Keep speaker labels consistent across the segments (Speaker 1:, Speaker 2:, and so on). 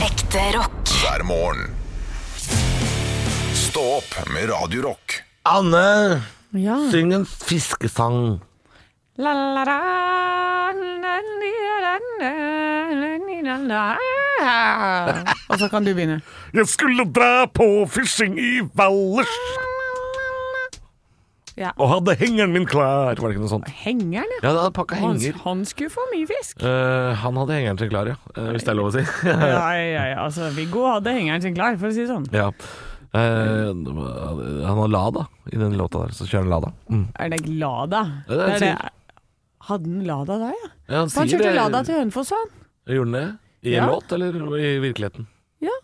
Speaker 1: Ekte rock.
Speaker 2: hver morgen. Stå opp med Radio Rock.
Speaker 3: Anne,
Speaker 4: Ja.
Speaker 3: syng en fiskesang.
Speaker 4: La, la, la, la, la, la, la, la, la. Og så kan du begynne.
Speaker 3: Jeg skulle dra på fishing i Valdres
Speaker 4: Ja.
Speaker 3: og hadde hengeren min klar. Var det ikke noe sånt?
Speaker 4: Henger den?
Speaker 3: Ja, det hadde pakka
Speaker 4: Han,
Speaker 3: henger.
Speaker 4: han skulle få mye fisk.
Speaker 3: Eh, han hadde hengeren sin klar, ja. Eh, hvis det er lov å si.
Speaker 4: Ja, ja, ja. Altså, Viggo hadde hengeren sin klar, for å si det sånn.
Speaker 3: ja. Eh, han har Lada i den låta der, så kjører han Lada. Mm.
Speaker 4: Er det Lada?
Speaker 3: Ja, det er sikkert.
Speaker 4: Hadde han Lada der, ja?
Speaker 3: Ja, han
Speaker 4: Han
Speaker 3: sier
Speaker 4: kjørte
Speaker 3: det-
Speaker 4: Lada til Hønefoss, han.
Speaker 3: Gjorde han det? I en
Speaker 4: Ja.
Speaker 3: låt, eller i virkeligheten?
Speaker 4: Ja.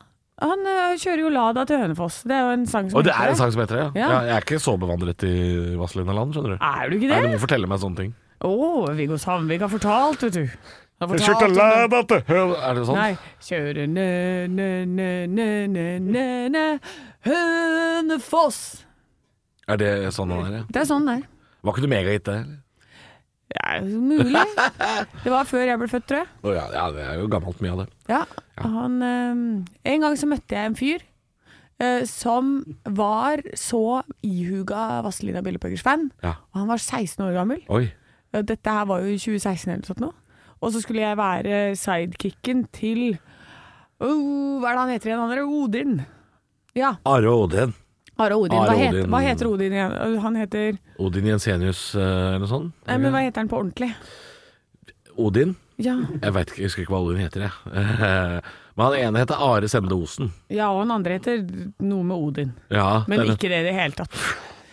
Speaker 4: Han eh, kjører jo Lada til Hønefoss. Det er jo en sang som
Speaker 3: Og det er en
Speaker 4: heter
Speaker 3: sang som heter det, ja.
Speaker 4: Ja.
Speaker 3: ja. Jeg er ikke så bevandret i Vazelina Land, skjønner du.
Speaker 4: Er du ikke
Speaker 3: Nei, du
Speaker 4: det?
Speaker 3: må fortelle meg sånne ting.
Speaker 4: Å, Viggo Sandvik har fortalt, vet du. Har
Speaker 3: Jeg
Speaker 4: fortalt om
Speaker 3: kjørte
Speaker 4: det.
Speaker 3: Lada til Hø- Er det sånn?
Speaker 4: Nei. Kjøre nø, nø, nø, nø, nø, nø, nø, Hønefoss.
Speaker 3: Er det sånn han er, ja?
Speaker 4: Det er sånn det er.
Speaker 3: Var ikke du megahit, det? eller?
Speaker 4: Ja, mulig. Det var før jeg ble født, tror jeg.
Speaker 3: Å ja, ja, det er jo gammelt mye av det.
Speaker 4: Ja, han eh, En gang så møtte jeg en fyr eh, som var så ihuga Vazelina Billepøggers-fan.
Speaker 3: Ja.
Speaker 4: Og han var 16 år gammel.
Speaker 3: Oi.
Speaker 4: Eh, Dette her var jo i 2016 eller noe sånt. nå. Og så skulle jeg være sidekicken til oh, Hva er det han heter igjen? Han er Odin. Ja,
Speaker 3: Are Odin.
Speaker 4: Are Odin. Hva
Speaker 3: Are
Speaker 4: heter,
Speaker 3: Odin.
Speaker 4: hva heter Odin igjen? Eh, Han heter
Speaker 3: Odin Jensenius eh, eller sånn?
Speaker 4: Nei, men hva heter han på ordentlig?
Speaker 3: Odin?
Speaker 4: Ja,
Speaker 3: Jeg vet ikke, jeg husker ikke hva Odin heter, jeg. men han ene heter Are Sende Osen.
Speaker 4: ja og han andre heter noe med Odin.
Speaker 3: Ja,
Speaker 4: Men
Speaker 3: det er det.
Speaker 4: ikke det i det hele tatt.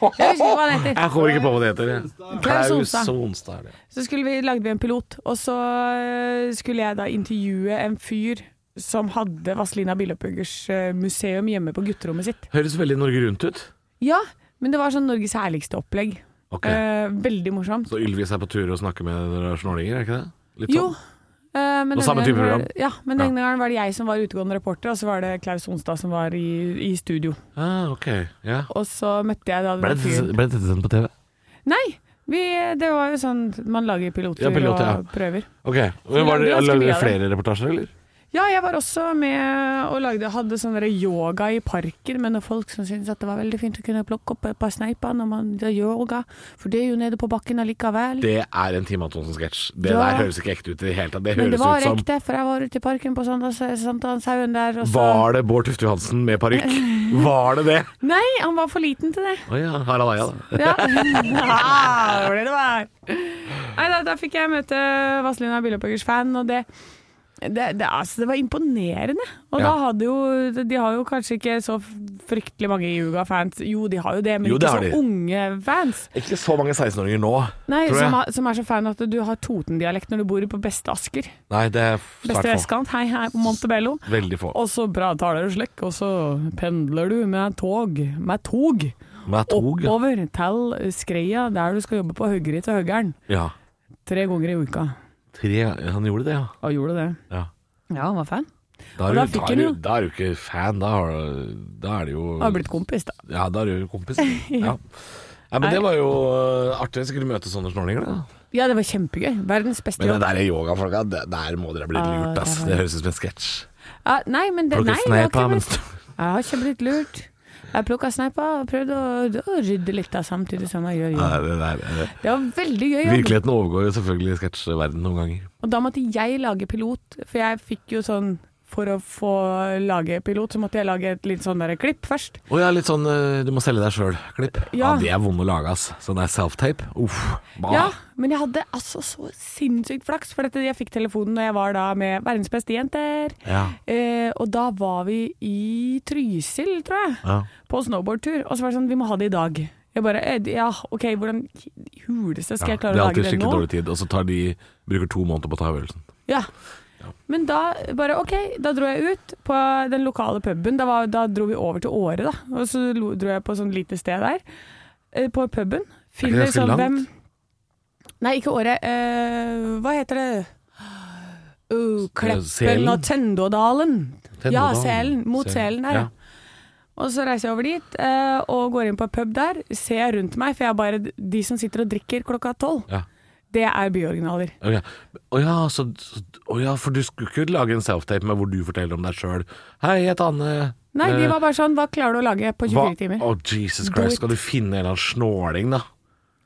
Speaker 4: Jeg husker ikke hva han heter.
Speaker 3: Jeg kommer ikke på hva det heter. jeg.
Speaker 4: Klaus Onstad.
Speaker 3: Onstad er det.
Speaker 4: Så skulle vi, lagde vi en pilot, og så øh, skulle jeg da intervjue en fyr som hadde Vazelina Bilopphøggers øh, museum hjemme på gutterommet sitt.
Speaker 3: Høres veldig Norge Rundt ut.
Speaker 4: Ja, men det var sånn Norges herligste opplegg.
Speaker 3: Ok,
Speaker 4: Eh, veldig morsomt.
Speaker 3: Så Ylvis er på tur og snakker med snålinger, er ikke det? Litt
Speaker 4: Jo.
Speaker 3: sånn.
Speaker 4: eh, men
Speaker 3: Og samme
Speaker 4: denne
Speaker 3: type
Speaker 4: gangen var-
Speaker 3: program.
Speaker 4: Ja, men
Speaker 3: Ja.
Speaker 4: denne gangen var det jeg som var utegående reporter, og så var det Klaus Onstad som var i, i studio.
Speaker 3: Ah, ok, ja.
Speaker 4: Og så møtte jeg da
Speaker 3: Ble
Speaker 4: den
Speaker 3: dette
Speaker 4: fyren.
Speaker 3: ble dette sendt på TV?
Speaker 4: Nei, vi, det var jo sånn man lager piloter
Speaker 3: Ja, piloter, ja.
Speaker 4: og prøver.
Speaker 3: Ok, men var det,
Speaker 4: lagde ganske
Speaker 3: Lagde
Speaker 4: mye
Speaker 3: dere
Speaker 4: av det.
Speaker 3: flere reportasjer, eller?
Speaker 4: Ja, jeg var også med og lagde, hadde sånn der yoga i parken med noen folk som syntes at det var veldig fint å kunne plukke opp et par sneiper når man gjør yoga, for det er jo nede på bakken allikevel.
Speaker 3: Det er en Tim Antonsen-sketsj. Det
Speaker 4: Ja.
Speaker 3: der høres ikke ekte ut i det hele tatt. Det
Speaker 4: Men det
Speaker 3: høres
Speaker 4: var
Speaker 3: ut som
Speaker 4: ekte, for jeg var ute i parken på sånn, Sankthanshaugen der. Og så...
Speaker 3: Var det Bård Tufte Johansen med parykk? Var det det?
Speaker 4: Nei, han var for liten til det.
Speaker 3: Å ja, Harald Eia, da.
Speaker 4: Ja, Ja,
Speaker 3: Ah,
Speaker 4: det var det det var. Nei, da, da fikk jeg møte Vazelina Bilopphøggers fan, og det det, det, altså, det var imponerende. Og
Speaker 3: Ja.
Speaker 4: da hadde jo De har jo kanskje ikke så fryktelig mange Juga-fans. Jo, de har jo det, men
Speaker 3: Jo, det
Speaker 4: ikke
Speaker 3: har
Speaker 4: så
Speaker 3: de.
Speaker 4: unge fans.
Speaker 3: Ikke så mange 16-åringer nå.
Speaker 4: Nei,
Speaker 3: Tror jeg.
Speaker 4: som, har- som er så fan at du har Toten-dialekt når du bor på beste Asker.
Speaker 3: Nei, det er
Speaker 4: Beste
Speaker 3: svært få.
Speaker 4: vestkant. Hei, hei på Montebello.
Speaker 3: Veldig få.
Speaker 4: Og så bra taler du slik, og så pendler du med tog. Med tog.
Speaker 3: Med tog, ja.
Speaker 4: Oppover til Skreia, der du skal jobbe på Høgri til Høgern.
Speaker 3: ja.
Speaker 4: Tre ganger i uka.
Speaker 3: Tre Han gjorde det, ja.
Speaker 4: Og gjorde det.
Speaker 3: ja.
Speaker 4: Ja, han var fan.
Speaker 3: Da
Speaker 4: Og
Speaker 3: er,
Speaker 4: da
Speaker 3: du,
Speaker 4: fikk
Speaker 3: da,
Speaker 4: han
Speaker 3: er du,
Speaker 4: jo-
Speaker 3: da er du ikke fan, da, har du, da er det jo
Speaker 4: Han har blitt kompis, da.
Speaker 3: Ja, da er du jo kompis. Ja. Nei, men
Speaker 4: Nei.
Speaker 3: det var jo øh, artig. Sikkert å møte sånne snorlinger, da.
Speaker 4: Ja, det var kjempegøy. Verdens beste
Speaker 3: Men det
Speaker 4: jobb.
Speaker 3: der yogafolka, det- der må dere ha blitt
Speaker 4: Ah, Ja,
Speaker 3: lurt, ass.
Speaker 4: det var-
Speaker 3: Det høres ut som en sketsj.
Speaker 4: Ja, nei, men det, nei,
Speaker 3: Plukke
Speaker 4: det har
Speaker 3: sneip
Speaker 4: ikke
Speaker 3: av mens
Speaker 4: blitt, jeg har ikke blitt lurt. Jeg plukka sneipa og prøvde å, å rydde litt da, samtidig som jeg gjør
Speaker 3: Nei,
Speaker 4: jobb.
Speaker 3: det der, det-
Speaker 4: Det var veldig gøy jobb.
Speaker 3: Virkeligheten overgår jo selvfølgelig sketsjverdenen noen ganger.
Speaker 4: Og da måtte jeg lage pilot, for jeg fikk jo sånn For å få lage pilot, så måtte jeg lage et litt sånn der klipp først.
Speaker 3: Å ja, litt sånn eh, du må selge deg sjøl-klipp. Ja.
Speaker 4: Ja.
Speaker 3: Det er vond å lage, ass. Sånn der self-tape. Uff. Bah.
Speaker 4: Ja, men jeg hadde altså så sinnssykt flaks, for dette, jeg fikk telefonen da jeg var da med verdens beste jenter.
Speaker 3: Ja.
Speaker 4: Eh, og da var vi i Trysil, tror jeg.
Speaker 3: Ja.
Speaker 4: på snowboardtur, og så var det sånn, vi må ha det i dag. Jeg bare, eh, ja, ok, hvordan i huleste skal jeg klare
Speaker 3: det
Speaker 4: å
Speaker 3: er
Speaker 4: lage
Speaker 3: alltid
Speaker 4: det
Speaker 3: skikkelig
Speaker 4: nå?
Speaker 3: dårlig tid, og så tar de, bruker to måneder på å ta øvelsen.
Speaker 4: Ja. Men da bare, ok, da dro jeg ut på den lokale puben, da, var, da dro vi over til Åre da, og så lo- dro jeg på sånn lite sted der, eh, på puben. Finner sånn
Speaker 3: ganske langt?
Speaker 4: Nei, ikke Åre, eh, hva heter det? Uh, Kleppen
Speaker 3: Selen?
Speaker 4: og Tendådalen. Ja,
Speaker 3: Tennedalen.
Speaker 4: Selen, mot Selen der, ja. Og så reiser jeg over dit eh, og går inn på en pub der. Ser rundt meg, for jeg er bare de som sitter og drikker klokka tolv.
Speaker 3: Ja.
Speaker 4: Det er byoriginaler.
Speaker 3: Å ja. Å ja, så, å ja, for du skulle ikke lage en self-tape med hvor du forteller om deg sjøl. 'Hei, jeg heter Anne'.
Speaker 4: Nei, de
Speaker 3: Eh,
Speaker 4: var bare sånn Hva klarer du å lage på 24
Speaker 3: hva-
Speaker 4: timer?
Speaker 3: Å, Jesus
Speaker 4: Do it.
Speaker 3: Christ, skal du finne en eller annen snåling, da?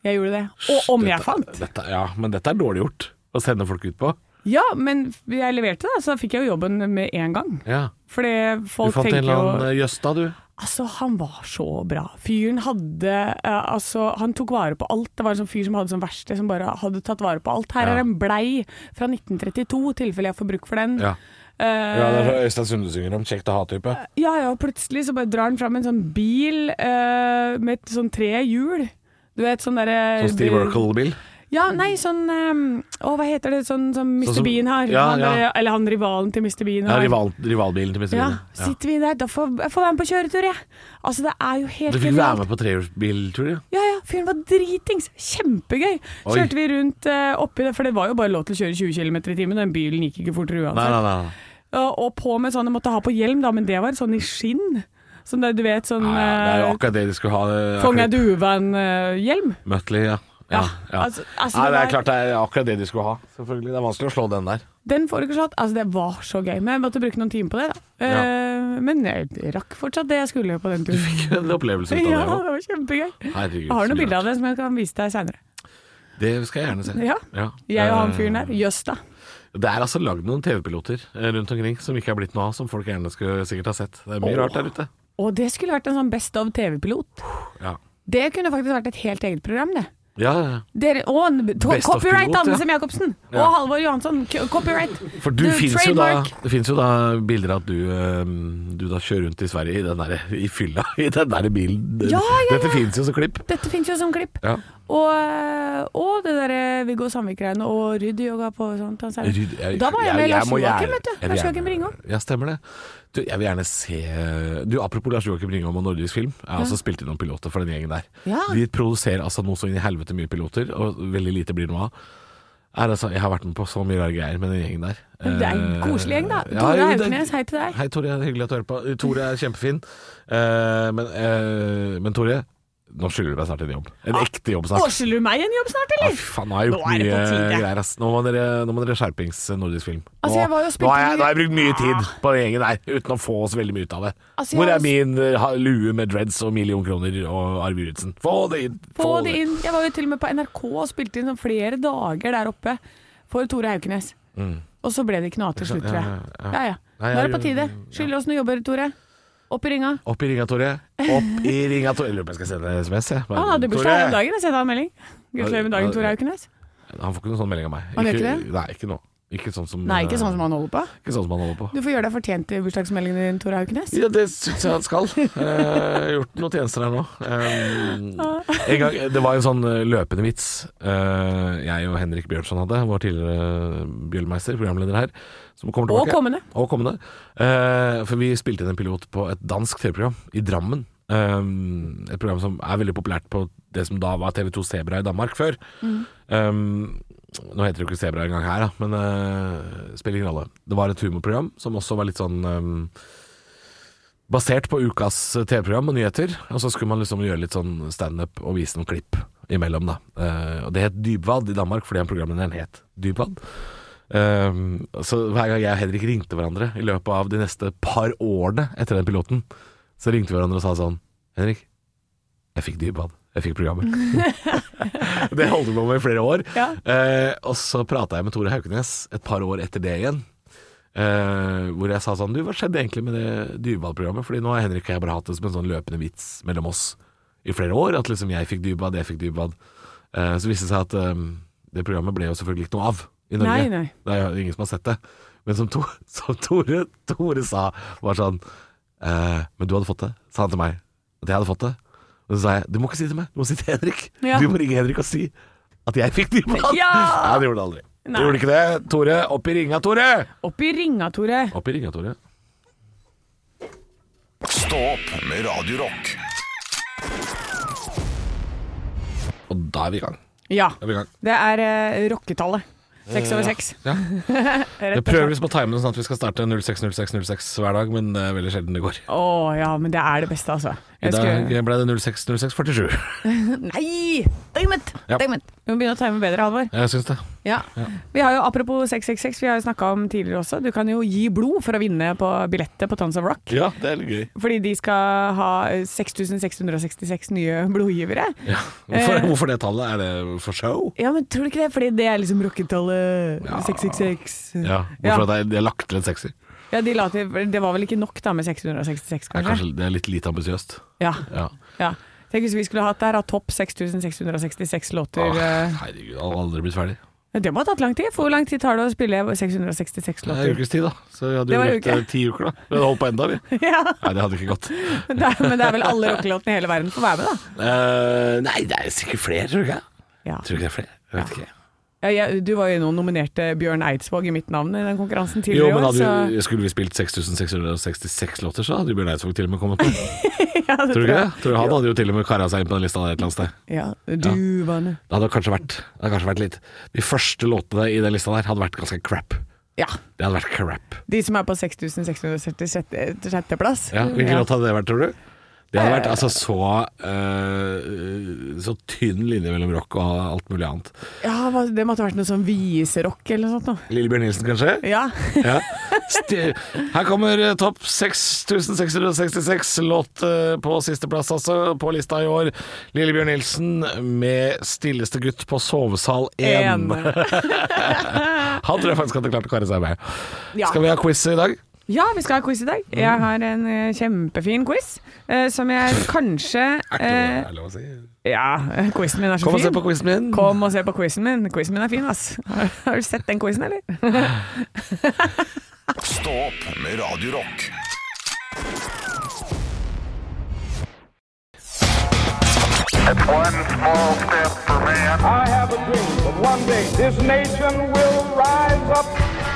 Speaker 4: Jeg gjorde det. Og om jeg
Speaker 3: Dette-
Speaker 4: fant!
Speaker 3: Dette, ja, men dette er dårlig gjort å sende folk ut på.
Speaker 4: Ja, men jeg leverte, da, så da fikk jeg jo jobben med en gang.
Speaker 3: Ja.
Speaker 4: Fordi
Speaker 3: Du
Speaker 4: folk
Speaker 3: fant en
Speaker 4: tenker
Speaker 3: eller
Speaker 4: jo
Speaker 3: annen eh, Jøsta, du.
Speaker 4: Altså, han var så bra. Fyren hadde eh, Altså, han tok vare på alt. Det var en sånn fyr som hadde sånn verksted som bare hadde tatt vare på alt. Her
Speaker 3: Ja.
Speaker 4: er en blei fra 1932, i tilfelle jeg får bruk for den.
Speaker 3: Ja.
Speaker 4: Eh,
Speaker 3: Ja, det er så Øystein Sunde synger om kjekt å ha-type.
Speaker 4: ja, ja, og plutselig så bare drar han fram en sånn bil eh, med et sånn tre hjul. Du vet sånn derre
Speaker 3: Som Steve Urkel-bil.
Speaker 4: Ja, nei, sånn ehm, Å, hva heter det? Sånn som Mr.
Speaker 3: Sånn som-
Speaker 4: Bean har.
Speaker 3: Ja,
Speaker 4: han,
Speaker 3: ja.
Speaker 4: derre- Eller han rivalen til Mr. Bean
Speaker 3: Ja,
Speaker 4: har.
Speaker 3: rival, rivalbilen til Mr.
Speaker 4: Ja,
Speaker 3: Bean. Ja.
Speaker 4: sitter vi der. Da får jeg får være med på kjøretur, jeg. Altså, det er jo helt
Speaker 3: Du fikk være
Speaker 4: genialt.
Speaker 3: med på trehjulsbiltur, ja.
Speaker 4: Ja, ja, fyren var dritings. Kjempegøy.
Speaker 3: Oi.
Speaker 4: Kjørte vi rundt eh, oppi det, for det var jo bare lov til å kjøre 20 km i timen. Den bilen gikk ikke
Speaker 3: Nei,
Speaker 4: fortere uansett.
Speaker 3: nei, nei. nei.
Speaker 4: Og, og på med sånn, jeg måtte ha på hjelm, da, men det var sånn i skinn. Som det, du vet, sånn
Speaker 3: Nei, ja, det er jo
Speaker 4: eh,
Speaker 3: akkurat det de skulle ha. eh,
Speaker 4: Fong
Speaker 3: akkurat-
Speaker 4: er duven-hjelm.
Speaker 3: Møtley, ja. Ja, ja.
Speaker 4: altså- altså,
Speaker 3: Nei,
Speaker 4: det
Speaker 3: det er
Speaker 4: var-
Speaker 3: klart det er akkurat det de skulle ha. Selvfølgelig, Det er vanskelig å slå den der.
Speaker 4: Den får du ikke slått. Altså, det var så gøy. Men jeg måtte bruke noen timer på det, da. Eh, Men jeg rakk fortsatt det jeg skulle på den turen.
Speaker 3: En opplevelse ut
Speaker 4: Ja,
Speaker 3: av
Speaker 4: det var kjempegøy.
Speaker 3: det òg.
Speaker 4: Jeg har noen bilder av det som jeg kan vise deg seinere.
Speaker 3: Det skal jeg gjerne se.
Speaker 4: Ja. Jeg og han fyren der. Jøss, da.
Speaker 3: Det er altså lagd noen TV-piloter eh, rundt omkring som ikke er blitt noe av, som folk gjerne skulle sikkert ha sett. Det er mye
Speaker 4: Åh.
Speaker 3: rart der ute.
Speaker 4: Og det skulle vært en sånn Best of TV-pilot.
Speaker 3: Ja.
Speaker 4: Det kunne faktisk vært et helt eget program, det.
Speaker 3: Ja, ja,
Speaker 4: Dere, å, n- to,
Speaker 3: Best of
Speaker 4: copyright
Speaker 3: pilot, ja.
Speaker 4: Anne Sem Jacobsen! Og
Speaker 3: Ja.
Speaker 4: Halvor Johansson! k- Copyright!
Speaker 3: ja. For du
Speaker 4: Du,
Speaker 3: finnes jo, da,
Speaker 4: trademark.
Speaker 3: det finnes jo da bilder av at du, eh, du da kjører rundt i Sverige i, den der, i fylla i den der bilen.
Speaker 4: Ja, ja, ja.
Speaker 3: Dette finnes jo som klipp.
Speaker 4: Dette finnes jo som klipp.
Speaker 3: Ja.
Speaker 4: Og, eh, og det derre Viggo Sandvik-greiene og Ryddi-yoga på sånt. Han sier.
Speaker 3: Ryd- jeg-
Speaker 4: Da var jeg
Speaker 3: jeg-
Speaker 4: med
Speaker 3: jeg
Speaker 4: Lars
Speaker 3: må
Speaker 4: Joakim,
Speaker 3: gjerne-
Speaker 4: vet du.
Speaker 3: jeg vil
Speaker 4: Lars Joakim
Speaker 3: gjerne-
Speaker 4: Ringom.
Speaker 3: Ja, stemmer det. Du, jeg vil gjerne se Du, Apropos Lars Joakim Ringholm og Nordisk Film. Jeg har også spilt inn noen piloter for den gjengen der.
Speaker 4: Ja.
Speaker 3: De produserer altså noe så inn i helvete mye piloter, og veldig lite blir noe av. Er, altså, jeg har vært med på så mye rare greier med den gjengen der.
Speaker 4: Men det er en
Speaker 3: Eh,
Speaker 4: koselig gjeng, da.
Speaker 3: ja,
Speaker 4: Tore
Speaker 3: jo, det-
Speaker 4: Haugnes, hei til deg.
Speaker 3: Hei, Tore. Hyggelig at du hører på. Uh, Tore er kjempefin. Eh, men, eh, men Tore, nå skylder du meg snart en jobb. En ekte jobb snart.
Speaker 4: Ah, Å, skylder du meg en jobb snart,
Speaker 3: Ja,
Speaker 4: eller?
Speaker 3: fy faen, nå har jeg gjort
Speaker 4: Nå er det
Speaker 3: mye
Speaker 4: på tide.
Speaker 3: greier, ass. Nå må dere, nå må dere skjerpings eh, nordisk film. Nå,
Speaker 4: Altså, jeg var jo spilt
Speaker 3: nå, har jeg,
Speaker 4: inn i-
Speaker 3: nå har jeg brukt mye tid på den gjengen der, uten å få oss veldig mye ut av det.
Speaker 4: Altså, Ah. jeg
Speaker 3: Hvor
Speaker 4: var-
Speaker 3: er min eh, ha- lue med dreads og million kroner og Arve Juritzen? Få det inn!
Speaker 4: Få det inn. Jeg var jo til og med på NRK og spilte inn sånn flere dager der oppe for Tore Haukenes.
Speaker 3: Mm.
Speaker 4: Og så ble det ikke noe av til slutt, tror jeg. Ja, ja. Nå
Speaker 3: Nei,
Speaker 4: er det
Speaker 3: jeg-
Speaker 4: på tide. Skylder oss noen jobber, Tore. Opp i ringa.
Speaker 3: Opp i ringa, Tore. Opp i ringa, Tore. Jeg lurer på om jeg skal sende en SMS, jeg. Men,
Speaker 4: Han hadde bursdag
Speaker 3: Tore,
Speaker 4: den dagen, jeg sendte han en melding. Gratulerer med dagen, Tore Haukenes.
Speaker 3: Han får ikke noen sånn melding av meg.
Speaker 4: Han gjør ikke det?
Speaker 3: Nei, ikke nå. Ikke sånn som
Speaker 4: Nei, ikke sånn som
Speaker 3: eh,
Speaker 4: han holder på.
Speaker 3: Ikke sånn som han holder på.
Speaker 4: Du får gjøre deg fortjent til bursdagsmeldingen din, Tore Haukenes.
Speaker 3: Ja, det syns jeg han skal. Eh, Jeg har gjort noen tjenester her nå.
Speaker 4: Ah.
Speaker 3: Eh, en gang, det var en sånn eh, løpende vits eh, jeg og Henrik Bjørnson hadde, vår tidligere Bjølmeister, programleder her, som kommer
Speaker 4: Og
Speaker 3: tilbake.
Speaker 4: kommende.
Speaker 3: Og kommende. Eh, for vi spilte inn en pilot på et dansk TV-program i Drammen. Eh, et program som er veldig populært på det som da var TV2 Sebra i Danmark før. Eh, nå heter det jo ikke Sebra engang her, da, men eh, spiller ingen rolle. Det var et humorprogram som også var litt sånn eh, basert på ukas eh, TV-program og nyheter. Og så skulle man liksom gjøre litt sånn standup og vise noen klipp imellom, da. Eh, og det het Dybvad i Danmark fordi han programlederen het Dybvad. Eh, så hver gang jeg og Henrik ringte hverandre i løpet av de neste par årene etter den piloten, så ringte vi hverandre og sa sånn Henrik, jeg fikk Dybvad. Jeg fikk programmet. det holdt vi på med i flere år.
Speaker 4: Ja.
Speaker 3: Eh, og så prata jeg med Tore Haukenes et par år etter det igjen. Eh, hvor jeg sa sånn Du, hva skjedde egentlig med det Dybwad-programmet? Fordi nå har Henrik og jeg bare hatt det som en sånn løpende vits mellom oss i flere år. At liksom jeg fikk Dybwad, jeg fikk Dybwad. Eh, så viste det seg at eh, det programmet ble jo selvfølgelig ikke noe av i Norge.
Speaker 4: Nei, nei.
Speaker 3: Det er jo ingen som har sett det. Men som, to, som Tore, Tore sa, var sånn eh, Men du hadde fått det, sa han til meg. At jeg hadde fått det. Og så sa jeg du må ikke si det til meg, du må si det til Henrik.
Speaker 4: Ja.
Speaker 3: Du må ringe Henrik og si at jeg fikk Dybwad.
Speaker 4: Ja!
Speaker 3: Nei, det gjorde det aldri.
Speaker 4: Nei.
Speaker 3: Det gjorde ikke det. Tore, opp i ringa, Tore!
Speaker 4: Opp i ringa, Tore.
Speaker 3: Opp i ringa, Tore.
Speaker 2: Stå opp med Radio Rock.
Speaker 3: Og da er vi i gang.
Speaker 4: Ja.
Speaker 3: Da er vi i gang.
Speaker 4: Det er eh, rocketallet. Seks over seks.
Speaker 3: Ja.
Speaker 4: Rett
Speaker 3: Jeg
Speaker 4: og
Speaker 3: prøver
Speaker 4: slett.
Speaker 3: liksom å time det sånn at vi skal starte 060606 hver dag, men det er veldig sjelden det går.
Speaker 4: Å ja, men det er det beste, altså.
Speaker 3: I
Speaker 4: Jeg
Speaker 3: dag
Speaker 4: skulle-
Speaker 3: ble det 06.06.47.
Speaker 1: Nei! Dammit!
Speaker 3: Ja.
Speaker 1: Dammit!
Speaker 4: Vi må begynne å time bedre, Halvor.
Speaker 3: Jeg syns det.
Speaker 1: Ja.
Speaker 4: Vi har jo, Apropos 666, vi har jo snakka om tidligere også. Du kan jo gi blod for å vinne på billettet på Tons of Rock.
Speaker 3: Ja, det er litt gøy.
Speaker 4: Fordi de skal ha eh, 6666 nye blodgivere.
Speaker 3: Ja. Hvorfor,
Speaker 4: Eh.
Speaker 3: hvorfor det tallet? Er det for show?
Speaker 4: Ja, men tror du ikke det? Fordi det er liksom rocketallet.
Speaker 3: Ja.
Speaker 4: 666.
Speaker 3: Ja,
Speaker 4: Ja.
Speaker 3: Hvorfor at det er- de har lagt til en sekser?
Speaker 4: Ja, de la til, Det var vel ikke nok da med 666,
Speaker 3: Det er
Speaker 4: kanskje?
Speaker 3: kanskje det er litt lite ambisiøst.
Speaker 4: Ja,
Speaker 3: Ja.
Speaker 4: ja. Tenk hvis vi skulle hatt der av topp 6666 låter.
Speaker 3: Åh,
Speaker 4: eh.
Speaker 3: herregud, jeg hadde aldri blitt ferdig.
Speaker 4: Ja, det må ha tatt lang tid. For hvor lang tid tar det å spille 666
Speaker 3: Det er en
Speaker 4: låter?
Speaker 3: ukes tid, da. Så vi hadde
Speaker 4: Det
Speaker 3: jo
Speaker 4: var en
Speaker 3: brukt
Speaker 4: uke.
Speaker 3: eh, ti uker, da. Vi hadde holdt på enda, vi.
Speaker 4: Ja,
Speaker 3: Nei, det hadde ikke gått.
Speaker 4: men det er, men det er vel alle rockelåtene i hele verden får være med, da.
Speaker 3: Eh, nei, det er sikkert flere, tror du ikke?
Speaker 4: Ja.
Speaker 3: Tror du ikke det er flere? Jeg vet ikke.
Speaker 4: Ja, jeg, du var jo noen nominerte Bjørn Eidsvåg i mitt navn i den konkurransen
Speaker 3: Jo,
Speaker 4: tidligere
Speaker 3: men
Speaker 4: i år,
Speaker 3: hadde,
Speaker 4: så
Speaker 3: vi- Skulle vi spilt 6666 låter, så hadde jo Bjørn Eidsvåg til og med kommet på.
Speaker 4: ja, det
Speaker 3: Tror du ikke
Speaker 4: jeg.
Speaker 3: det? Tror du Han hadde jo til og med kara seg inn på den lista der et eller annet sted.
Speaker 4: Ja, du var nø-
Speaker 3: Det hadde kanskje vært, det hadde kanskje vært litt De første låtene i den lista der hadde vært ganske crap.
Speaker 4: Ja.
Speaker 3: Det hadde vært crap.
Speaker 4: De som er på 6676. plass.
Speaker 3: Ja, Hvilken låt hadde det vært, tror du? Det hadde
Speaker 4: Eh.
Speaker 3: vært altså så eh, Så tynn linje mellom rock og alt mulig annet.
Speaker 4: Ja, hva- det måtte ha vært noe sånn viserock eller noe sånt noe.
Speaker 3: Lillebjørn Nilsen, kanskje?
Speaker 4: Ja.
Speaker 3: Ja. Sti- Her kommer eh, topp 6666 låt eh, på sisteplass, altså, på lista i år. Lillebjørn Nilsen med 'Stilleste gutt på sovesal 1'. Han tror jeg faktisk hadde klart å kare seg med.
Speaker 4: Ja.
Speaker 3: Skal vi ha quiz i dag?
Speaker 4: ja, vi skal ha quiz i dag.
Speaker 3: Mm.
Speaker 4: Jeg har en eh, kjempefin quiz, eh, som jeg kanskje eh,
Speaker 3: lov å si.
Speaker 4: Ja, quizen min er så
Speaker 3: Kom og se
Speaker 4: fin.
Speaker 3: på quizen min.
Speaker 4: Kom og se på quizen min. Quizen min er fin, ass. Har du sett den quizen, eller?
Speaker 2: Stå opp med Radio Rock.
Speaker 5: One small step for man.
Speaker 6: I have a dream that one day this nation will rise up.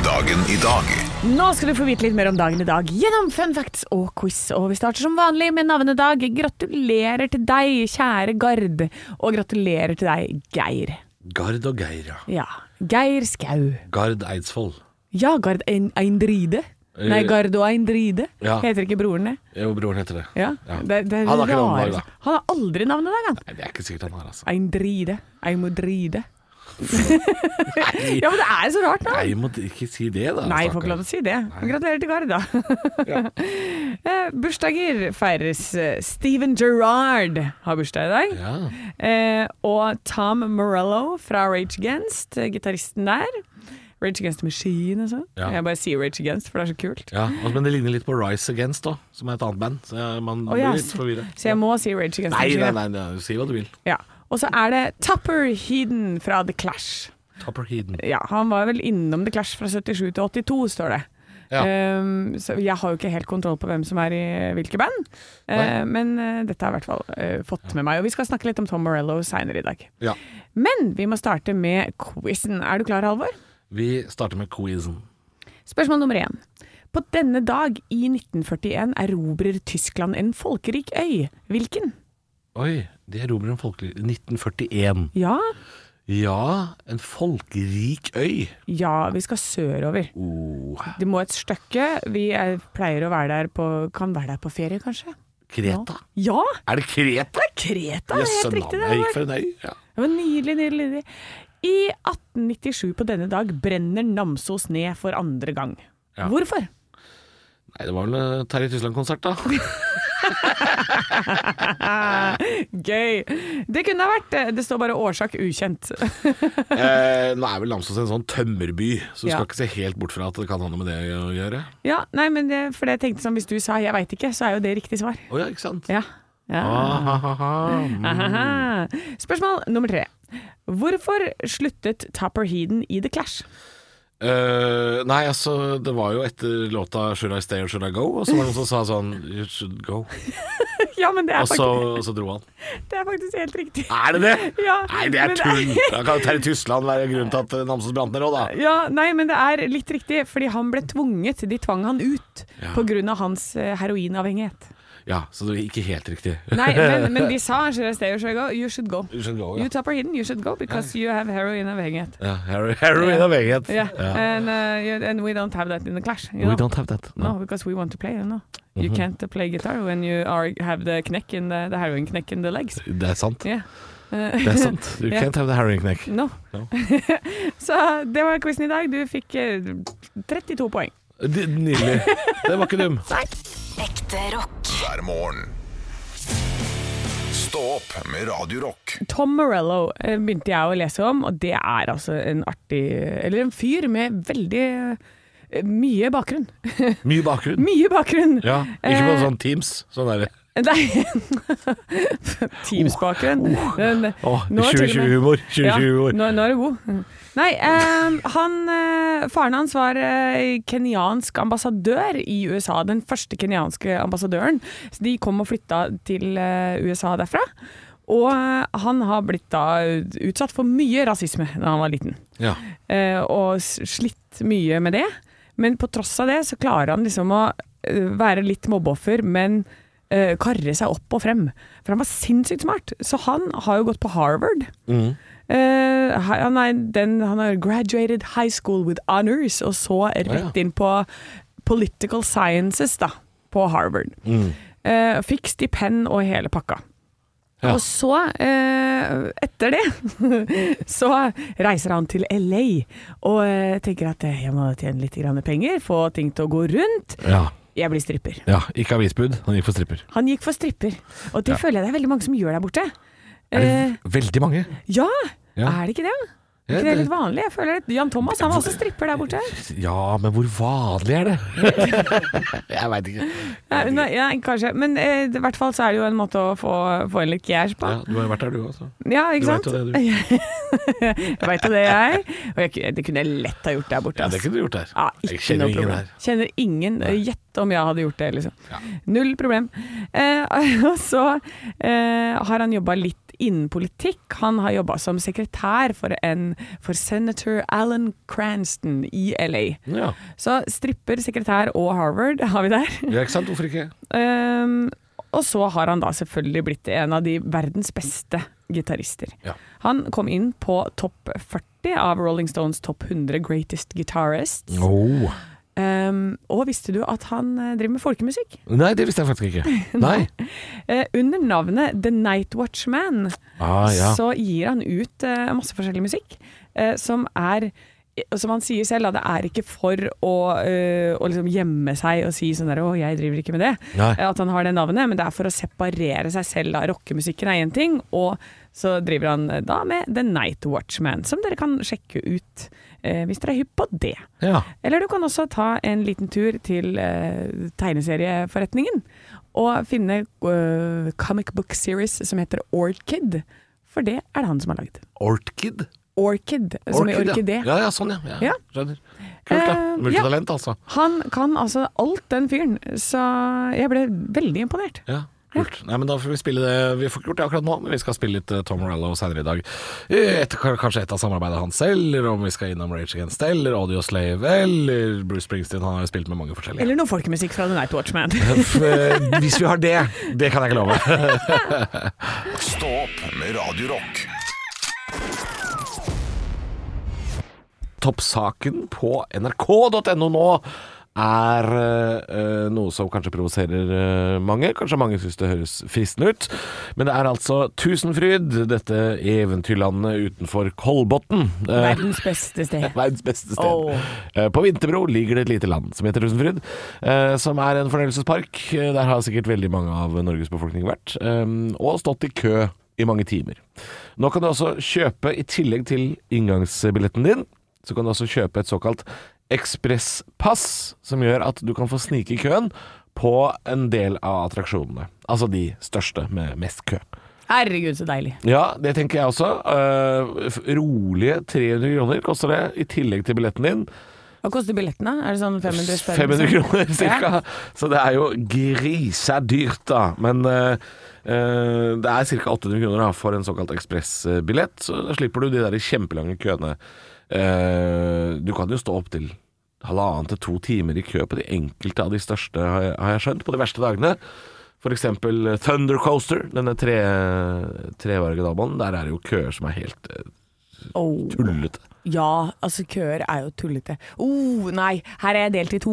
Speaker 2: Dagen i dag
Speaker 4: Nå skal du få vite litt mer om dagen i dag gjennom fun facts og quiz. Og vi starter som vanlig med navnedag. Gratulerer til deg, kjære Gard. Og gratulerer til deg, Geir.
Speaker 3: Gard og Geir, ja.
Speaker 4: Ja. Geir Skau.
Speaker 3: Gard Eidsvoll.
Speaker 4: Ja, Gard Ein- Eindride. Nei,
Speaker 3: Eh,
Speaker 4: Gard og Eindride.
Speaker 3: ja.
Speaker 4: Heter ikke broren det?
Speaker 3: Jo, broren heter det.
Speaker 4: Ja.
Speaker 3: Ja.
Speaker 4: Det, det er
Speaker 3: Han har ikke
Speaker 4: rar-
Speaker 3: navnedag, da.
Speaker 4: Han har aldri navnedag, han.
Speaker 3: Nei, det er ikke sikkert han har, altså.
Speaker 4: Eindride.
Speaker 3: Nei,
Speaker 4: Eimodride. Ja, men det er så rart, da.
Speaker 3: Nei, må du ikke si det, da.
Speaker 4: Nei, jeg
Speaker 3: stakkar.
Speaker 4: får ikke lov til å si det. Men Gratulerer til Gard, da. Eh, Bursdager feires. eh, Steven Gerrard har bursdag i dag.
Speaker 3: Ja.
Speaker 4: Eh, og Tom Morello fra Rage Against, eh, gitaristen der. Rage Against the Machine og sånn.
Speaker 3: Ja.
Speaker 4: Jeg bare sier Rage Against, for det er så kult.
Speaker 3: Ja, altså, men det ligner litt på Rise Against da, som er et annet band. Så jeg- man
Speaker 4: Å, ja,
Speaker 3: blir litt
Speaker 4: så-
Speaker 3: forvirra.
Speaker 4: Så jeg må si Rage Against the
Speaker 3: Nei,
Speaker 4: Machine.
Speaker 3: nei,
Speaker 4: da.
Speaker 3: nei, nei, si hva du vil.
Speaker 4: Ja. Og så er det Tupper Heeden fra The Clash.
Speaker 3: Topper Heeden.
Speaker 4: Ja, han var vel innom The Clash fra 77 til 82, står det.
Speaker 3: Ja.
Speaker 4: Ehm, så jeg har jo ikke helt kontroll på hvem som er i hvilke band,
Speaker 3: Nei.
Speaker 4: Eh, men eh, dette har jeg i hvert fall eh, fått med meg. Og vi skal snakke litt om Tom Morello seinere i dag.
Speaker 3: Ja.
Speaker 4: Men vi må starte med quizen. Er du klar, Halvor?
Speaker 3: Vi starter med quizen.
Speaker 4: Spørsmål nummer én. På denne dag i 1941 erobrer Tyskland en folkerik øy. Hvilken?
Speaker 3: Oi, de erobrer en folkelig 1941.
Speaker 4: Ja,
Speaker 3: Ja, en folkerik øy.
Speaker 4: ja, vi skal sørover.
Speaker 3: Oh,
Speaker 4: Det må et stykke. Vi er, pleier å være der på Kan være der på ferie, kanskje?
Speaker 3: Kreta.
Speaker 4: Ja!
Speaker 3: Er det Kreta?
Speaker 4: Det er Kreta, det er
Speaker 3: Jøsse
Speaker 4: helt
Speaker 3: navn,
Speaker 4: riktig.
Speaker 3: jeg gikk
Speaker 4: Det
Speaker 3: for en øy. Ja.
Speaker 4: var, det var nydelig, nydelig, nydelig. I 1897 på denne dag brenner Namsos ned for andre gang.
Speaker 3: Ja.
Speaker 4: Hvorfor?
Speaker 3: Nei, det var vel eh, Terje Tysland-konsert, da.
Speaker 4: Gøy! Det kunne ha vært det. Det står bare årsak ukjent.
Speaker 3: Eh, nå er vel Namsos en sånn tømmerby, så du
Speaker 4: Ja.
Speaker 3: skal ikke se helt bort fra at det kan ha noe med det å gjøre.
Speaker 4: Ja, nei, men det, for det jeg tenkte sånn, hvis du sa 'jeg veit ikke', så er jo det riktig svar.
Speaker 3: Å ja, ikke sant?
Speaker 4: Ja. ja.
Speaker 3: Ah, ha, ha, ha. Mm.
Speaker 4: Aha. Spørsmål nummer tre. Hvorfor sluttet Tupper Heeden i The Clash?
Speaker 3: Eh, nei, altså, det var jo etter låta 'Should I Stay or Should I Go', og så var det noen som sa sånn 'You should go',
Speaker 4: Ja, men det er,
Speaker 3: og så,
Speaker 4: faktisk,
Speaker 3: og så dro han.
Speaker 4: det er faktisk helt riktig.
Speaker 3: Er det det?!
Speaker 4: Ja,
Speaker 3: Nei, det er
Speaker 4: men-
Speaker 3: tull! Da kan jo Terje Tysland være grunnen til at eh, Namsos brant ned òg, da.
Speaker 4: Ja, nei, men det er litt riktig, fordi han ble tvunget. De tvang han ut
Speaker 3: Ja.
Speaker 4: pga. hans eh, heroinavhengighet.
Speaker 3: Ja, så det er ikke helt riktig.
Speaker 4: Nei, men, men de sa should I stay or should I go? You should go.
Speaker 3: You should go, ja.
Speaker 4: You Tapper Hidden, you should go because you have heroin avhengighet.
Speaker 3: Ja, hero- heroin avhengighet.
Speaker 4: Yeah.
Speaker 3: Ja.
Speaker 4: And, uh, you- and we don't have that in the clash. You know?
Speaker 3: We don't Mm-hmm. have that.
Speaker 4: No, because we want to play. You know? You can't uh, play guitar when you are, have the kneck in the, the heroin kneck in the legs.
Speaker 3: Det er sant.
Speaker 4: Yeah.
Speaker 3: Det er sant. You
Speaker 4: Ja.
Speaker 3: can't have the heroin knekk.
Speaker 4: No.
Speaker 3: No.
Speaker 4: Så det var quizen i dag. Du fikk eh, 32 poeng.
Speaker 3: Det- Nydelig. Det var ikke dum.
Speaker 7: Ekte rock.
Speaker 2: hver morgen. Stå opp med Radio Rock.
Speaker 4: Tom Morello eh, begynte jeg å lese om, og det er altså en artig Eller en fyr med veldig eh, mye bakgrunn.
Speaker 3: Mye bakgrunn.
Speaker 4: Mye bakgrunn!
Speaker 3: Ja, ikke på
Speaker 4: Eh,
Speaker 3: sånn Teams. Sånn er det.
Speaker 4: Nei Teams-bakgrunn. Den-
Speaker 3: Å,
Speaker 4: nå er til og med-
Speaker 3: 2020-humor.
Speaker 4: Ja,
Speaker 3: 2020-humor.
Speaker 4: nå, nå er du god. Nei, eh, han, eh, faren hans var eh, kenyansk ambassadør i USA. Den første kenyanske ambassadøren. Så de kom og flytta til eh, USA derfra. Og eh, han har blitt da utsatt for mye rasisme da han var liten
Speaker 3: Ja.
Speaker 4: eh, og s- slitt mye med det. Men på tross av det så klarer han liksom å eh, være litt mobbeoffer, men eh, karre seg opp og frem. For han var sinnssykt smart. Så han har jo gått på Harvard. Eh, han, er den, han har graduated high school with honors, og så rett inn på political sciences da, på Harvard. Eh, fikk stipend og hele pakka.
Speaker 3: Ja.
Speaker 4: Og så, eh, etter det, så reiser han til LA og eh, tenker at eh, jeg må tjene litt grann penger, få ting til å gå rundt.
Speaker 3: Ja.
Speaker 4: Jeg blir stripper.
Speaker 3: ja. Ikke avisbud. sånn Han gikk for stripper.
Speaker 4: Han gikk for stripper, og det føler jeg det er veldig mange som gjør der borte.
Speaker 3: Er det
Speaker 4: Eh,
Speaker 3: v- veldig mange?
Speaker 4: ja,
Speaker 3: Ja.
Speaker 4: er det ikke det? Er
Speaker 3: Ja,
Speaker 4: ikke det
Speaker 3: det-
Speaker 4: litt vanlig? Jeg føler at Jan Thomas han var også stripper der borte.
Speaker 3: Ja, men hvor vanlig er det? jeg veit ikke.
Speaker 4: Nei, nei, nei, kanskje, men eh, i hvert fall så er det jo en måte å få, få en litt cash på.
Speaker 3: Ja, du har jo vært der, du òg.
Speaker 4: Ja,
Speaker 3: Du
Speaker 4: ikke
Speaker 3: vet
Speaker 4: sant?
Speaker 3: jo det, du.
Speaker 4: Jeg veit jo det, jeg. Og jeg, ku- det kunne jeg lett ha gjort der borte.
Speaker 3: Ja, det
Speaker 4: ass.
Speaker 3: kunne du gjort der.
Speaker 4: Ja,
Speaker 3: Jeg
Speaker 4: ikke
Speaker 3: kjenner
Speaker 4: noe
Speaker 3: ingen
Speaker 4: problem.
Speaker 3: der.
Speaker 4: Kjenner ingen. Gjett om jeg hadde gjort det, liksom. Null problem. Eh, og så eh, har han jobba litt innen politikk. Han har jobba som sekretær for, en, for senator Alan Cranston i LA.
Speaker 3: Ja.
Speaker 4: Så stripper, sekretær og Harvard har vi der.
Speaker 3: ja, ikke sant? Hvorfor ikke?
Speaker 4: Ehm, og så har han da selvfølgelig blitt en av de verdens beste gitarister.
Speaker 3: Ja.
Speaker 4: Han kom inn på topp 40 av Rolling Stones topp 100 greatest guitarists.
Speaker 3: Oh.
Speaker 4: Ehm, og visste du at han eh, driver med folkemusikk?
Speaker 3: Nei, det visste jeg faktisk ikke. Nei.
Speaker 4: Eh, under navnet The Night Watchman
Speaker 3: Ah, ja.
Speaker 4: så gir han ut eh, masse forskjellig musikk eh, som er eh, som han sier selv, da, det er ikke for å, eh, å liksom gjemme seg og si sånn der 'Å, jeg driver ikke med det'.
Speaker 3: Nei.
Speaker 4: Eh, At han har det navnet, men det er for å separere seg selv. da. Rockemusikken er én ting, og så driver han eh, da med The Night Watchman, som dere kan sjekke ut eh, hvis dere er hypp på det.
Speaker 3: ja.
Speaker 4: Eller du kan også ta en liten tur til eh, tegneserieforretningen og finne eh, comic book series som heter Orchid, for det er det han som har lagd.
Speaker 3: Orchid?
Speaker 4: Orchid, som i
Speaker 3: Orchid,
Speaker 4: orkidé.
Speaker 3: ja. ja. Ja, sånn, ja.
Speaker 4: Ja.
Speaker 3: ja. Skjønner. Kult, da.
Speaker 4: Eh,
Speaker 3: Multitalent, altså.
Speaker 4: Han kan altså alt, den fyren, så jeg ble veldig imponert.
Speaker 3: Ja, kult. Nei, men da får vi spille det. Vi får ikke gjort det akkurat nå, men vi skal spille litt eh, Tom Morello senere i dag. Eh, Et, k- kanskje et av samarbeidene hans selv, eller om vi skal innom Rage Against the eller Audio Slave, eller Bruce Springsteen. Han har jo spilt med mange forskjellige.
Speaker 4: Eller noe folkemusikk fra The Night Watchman.
Speaker 3: Eh, Hvis vi har det, det kan jeg ikke love.
Speaker 2: Stå opp med Radio Rock
Speaker 3: toppsaken på nrk.no nå er eh, noe som kanskje provoserer eh, mange. Kanskje mange syns det høres fristende ut. Men det er altså Tusenfryd, dette eventyrlandet utenfor Kolbotn. Eh,
Speaker 4: Verdens beste sted.
Speaker 3: Verdens beste sted.
Speaker 4: Åh.
Speaker 3: Eh, På Vinterbro ligger det et lite land som heter Tusenfryd, eh, som er en fornøyelsespark. Eh, Der har sikkert veldig mange av Norges befolkning vært, eh, og stått i kø i mange timer. Nå kan du også kjøpe, i tillegg til inngangsbilletten din, så kan du også kjøpe et såkalt ekspresspass, som gjør at du kan få snike i køen på en del av attraksjonene. Altså de største med mest kø.
Speaker 4: Herregud, så deilig.
Speaker 3: Ja, det tenker jeg også. Eh, f- rolige 300 kroner koster det, i tillegg til billetten din.
Speaker 4: Hva koster billettene? Er det sånn 500 spenn?
Speaker 3: 500 kroner ca. Så det er jo grisedyrt, da. Men eh, eh, det er ca. 800 kroner da, for en såkalt ekspressbillett. Så da slipper du de der kjempelange køene. Eh, du kan jo stå opptil halvannen til to timer i kø på de enkelte av de største, har jeg, har jeg skjønt, på de verste dagene. For eksempel Thunder Coaster, denne tre, trevarige dalbanen. Der er det jo køer som er helt eh,
Speaker 4: Oh.
Speaker 3: tullete.
Speaker 4: Ja, altså køer er jo tullete. Oh, nei, her er jeg delt i to.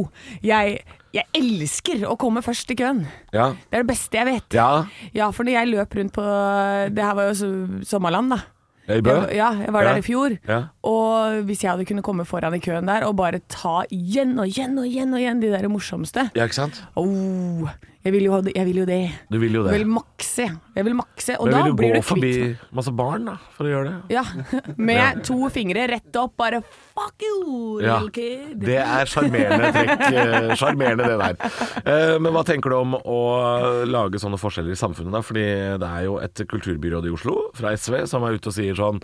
Speaker 4: Jeg, jeg elsker å komme først i køen.
Speaker 3: Ja.
Speaker 4: Det er det beste jeg vet.
Speaker 3: Ja,
Speaker 4: Ja, for når jeg løp rundt på Det her var jo so- sommerland, da.
Speaker 3: i Bø.
Speaker 4: Jeg, ja, jeg var
Speaker 3: Ja.
Speaker 4: der i fjor.
Speaker 3: Ja.
Speaker 4: Og hvis jeg hadde kunnet komme foran i køen der og bare ta igjen og igjen og igjen og igjen de der morsomste
Speaker 3: Ja, ikke sant?
Speaker 4: oh, jeg, vil jo, ha det- jeg vil jo det.
Speaker 3: Du vil jo
Speaker 4: Jeg
Speaker 3: det.
Speaker 4: vil makse. Jeg vil makse. Og
Speaker 3: Men
Speaker 4: da
Speaker 3: vil du
Speaker 4: blir
Speaker 3: gå
Speaker 4: du
Speaker 3: forbi
Speaker 4: kvitt
Speaker 3: masse barn da, for å gjøre det?
Speaker 4: Ja, med to fingre rett opp, bare fuck you,
Speaker 3: Ja,
Speaker 4: little kid.
Speaker 3: Det er sjarmerende trekk. eh, Sjarmerende, det der. Eh, Men hva tenker du om å lage sånne forskjeller i samfunnet, da? Fordi det er jo et kulturbyråd i Oslo fra SV som er ute og sier sånn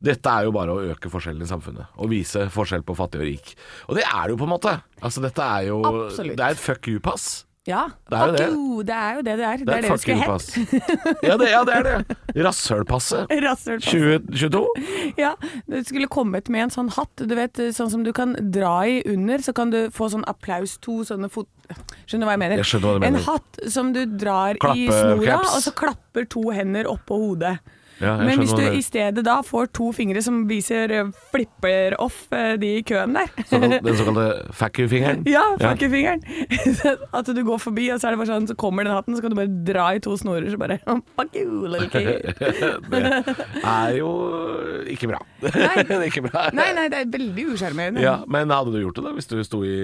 Speaker 3: dette er jo bare å øke forskjellen i samfunnet, og vise forskjell på fattig og rik. Og det er det jo på en måte. Altså dette er jo
Speaker 4: Absolutt.
Speaker 3: Det er et fuck you-pass.
Speaker 4: Ja,
Speaker 3: Det er jo
Speaker 4: fuck
Speaker 3: det.
Speaker 4: you, det er jo det det er. Det
Speaker 3: Det
Speaker 4: er
Speaker 3: er
Speaker 4: det
Speaker 3: et
Speaker 4: det
Speaker 3: fuck
Speaker 4: skulle hett.
Speaker 3: you-pass. Ja, det- ja, det er det. Rasshølpasset.
Speaker 4: Rasshølpass.
Speaker 3: 2022?
Speaker 4: Ja, du skulle kommet med en sånn hatt, du vet, sånn som du kan dra i under, så kan du få sånn applaus, to sånne fot... Skjønner du hva jeg mener?
Speaker 3: Jeg skjønner hva du mener.
Speaker 4: En hatt som du drar i
Speaker 3: Klappe,
Speaker 4: snora,
Speaker 3: claps.
Speaker 4: og så klapper to hender oppå hodet.
Speaker 3: Ja, jeg
Speaker 4: Men
Speaker 3: skjønner
Speaker 4: hvis
Speaker 3: hva
Speaker 4: du
Speaker 3: du mener.
Speaker 4: i stedet da får to fingre som viser eh, flipper off eh, de i køen der
Speaker 3: Såkalt, den såkalte fuck you-fingeren?
Speaker 4: Ja, fuckefingeren. At du går forbi, og så er det bare sånn, så kommer den hatten, så kan du bare dra i to snorer, så bare "Oh, Fuck you, little kid.
Speaker 3: Det er jo ikke bra.
Speaker 4: Nei.
Speaker 3: Det er ikke bra.
Speaker 4: Nei, nei, det er veldig usjarmerende.
Speaker 3: Ja, men hadde du gjort det da, hvis du sto, i,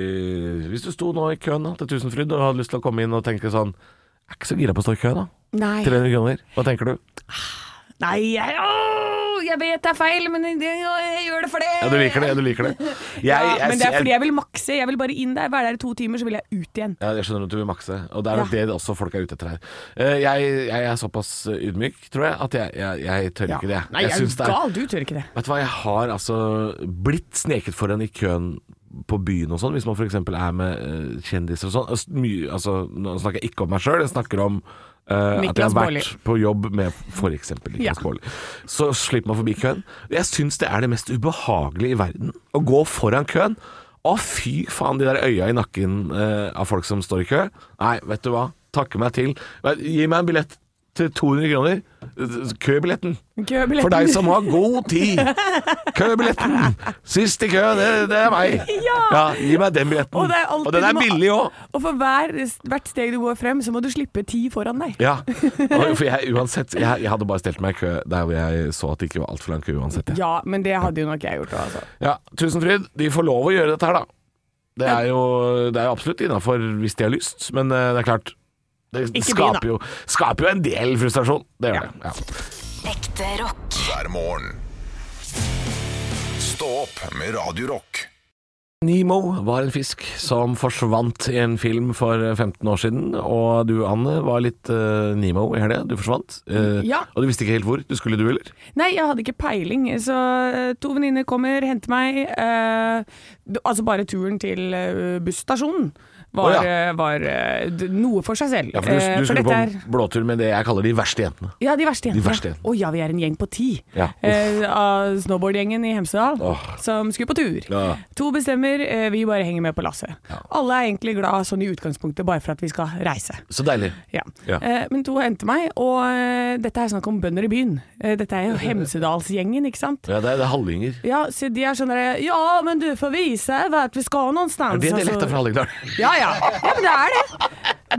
Speaker 3: hvis du sto nå i køen da, til Tusenfryd og hadde lyst til å komme inn og tenke sånn Jeg er ikke så gira på å stå i kø, da.
Speaker 4: Nei.
Speaker 3: 300 kroner. Hva tenker du?
Speaker 4: Nei, jeg, åh, jeg vet det er feil, men jeg, jeg gjør det for det.
Speaker 3: Ja, du liker det. Ja, du liker det. Jeg,
Speaker 4: Ja, men det er fordi
Speaker 3: jeg,
Speaker 4: jeg vil makse. Jeg vil bare inn der, være der i to timer, så vil jeg ut igjen.
Speaker 3: ja, jeg skjønner at du vil makse, og det er nok
Speaker 4: Ja.
Speaker 3: det også folk er ute etter her. Eh, Jeg, jeg er såpass ydmyk, tror jeg, at jeg, jeg, jeg tør ikke det.
Speaker 4: Nei, jeg,
Speaker 3: syns det
Speaker 4: er gal, du tør ikke det.
Speaker 3: Vet du hva, jeg har altså blitt sneket foran i køen på byen og sånn, hvis man f.eks. er med eh, kjendiser og sånn. Altså, mye- altså, nå snakker jeg ikke om meg sjøl, jeg snakker om eh, at jeg
Speaker 4: Niklas
Speaker 3: har
Speaker 4: Baarli.
Speaker 3: vært på jobb med f.eks.
Speaker 4: Ja.
Speaker 3: Niklas Baarli. Så slipper man forbi køen. Jeg syns det er det mest ubehagelige i verden å gå foran køen. Å, fy faen, de der øya i nakken eh, av folk som står i kø. Nei, vet du hva, takke meg til. Vet- Gi meg en billett til 200 kroner. Købilletten.
Speaker 4: Købilletten.
Speaker 3: For deg som har god tid. Købilletten. Sist i kø, det, det er meg.
Speaker 4: Ja.
Speaker 3: Gi meg den billetten.
Speaker 4: Og det er alltid-
Speaker 3: den
Speaker 4: du
Speaker 3: er
Speaker 4: må-
Speaker 3: billig òg.
Speaker 4: Og for hver, hvert steg du går frem, så må du slippe ti foran deg.
Speaker 3: Ja. Og For jeg, uansett, jeg, jeg hadde bare stelt meg i kø der hvor jeg så at det ikke var altfor lang kø uansett. jeg.
Speaker 4: Ja, men det hadde jo nok jeg gjort òg, altså.
Speaker 3: Ja, Tusenfryd, de får lov å gjøre dette her, da. Det er jo, det er jo absolutt innafor hvis de har lyst, men eh, det er klart Det
Speaker 4: Ikke byen, da.
Speaker 3: skaper jo, skaper jo en del frustrasjon. Det gjør det. Ja.
Speaker 7: Ekte rock.
Speaker 2: hver morgen. Stå opp med Radio Rock.
Speaker 3: Nemo var en fisk som forsvant i en film for 15 år siden, og du Anne var litt eh, Nemo i helga. Du forsvant, eh,
Speaker 4: Ja.
Speaker 3: og du visste ikke helt hvor. Du skulle du, eller?
Speaker 4: Nei, jeg hadde ikke peiling, så eh, to venninner kommer, henter meg. eh, d- altså bare turen til eh, busstasjonen var,
Speaker 3: Å, ja.
Speaker 4: eh, var eh, d- noe for seg selv.
Speaker 3: Ja, for du,
Speaker 4: Eh,
Speaker 3: du skulle på
Speaker 4: dette
Speaker 3: en blåtur med det jeg kaller de verste jentene.
Speaker 4: ja, de verste jentene.
Speaker 3: verste jentene.
Speaker 4: Å ja, vi er en gjeng på ti.
Speaker 3: Ja, uff.
Speaker 4: Eh, av snowboardgjengen i Hemsedal
Speaker 3: Åh.
Speaker 4: som skulle på tur.
Speaker 3: Ja.
Speaker 4: To bestemmer, eh, vi bare henger med på lasset. Alle er egentlig glad sånn i utgangspunktet, bare for at vi skal reise.
Speaker 3: Så deilig.
Speaker 4: Ja.
Speaker 3: Ja.
Speaker 4: Eh, men to henter meg, og eh, dette er snakk om bønder i byen. Eh, dette er jo Hemsedalsgjengen, ikke sant?
Speaker 3: Ja, det er, det er Hallinger.
Speaker 4: Ja, så de er sånn der, Ja, men du får vise vart vi skal någonstans.
Speaker 3: Det er dialekta
Speaker 4: altså.
Speaker 3: fra Hallingdal.
Speaker 4: Ja, ja. ja, men det er det.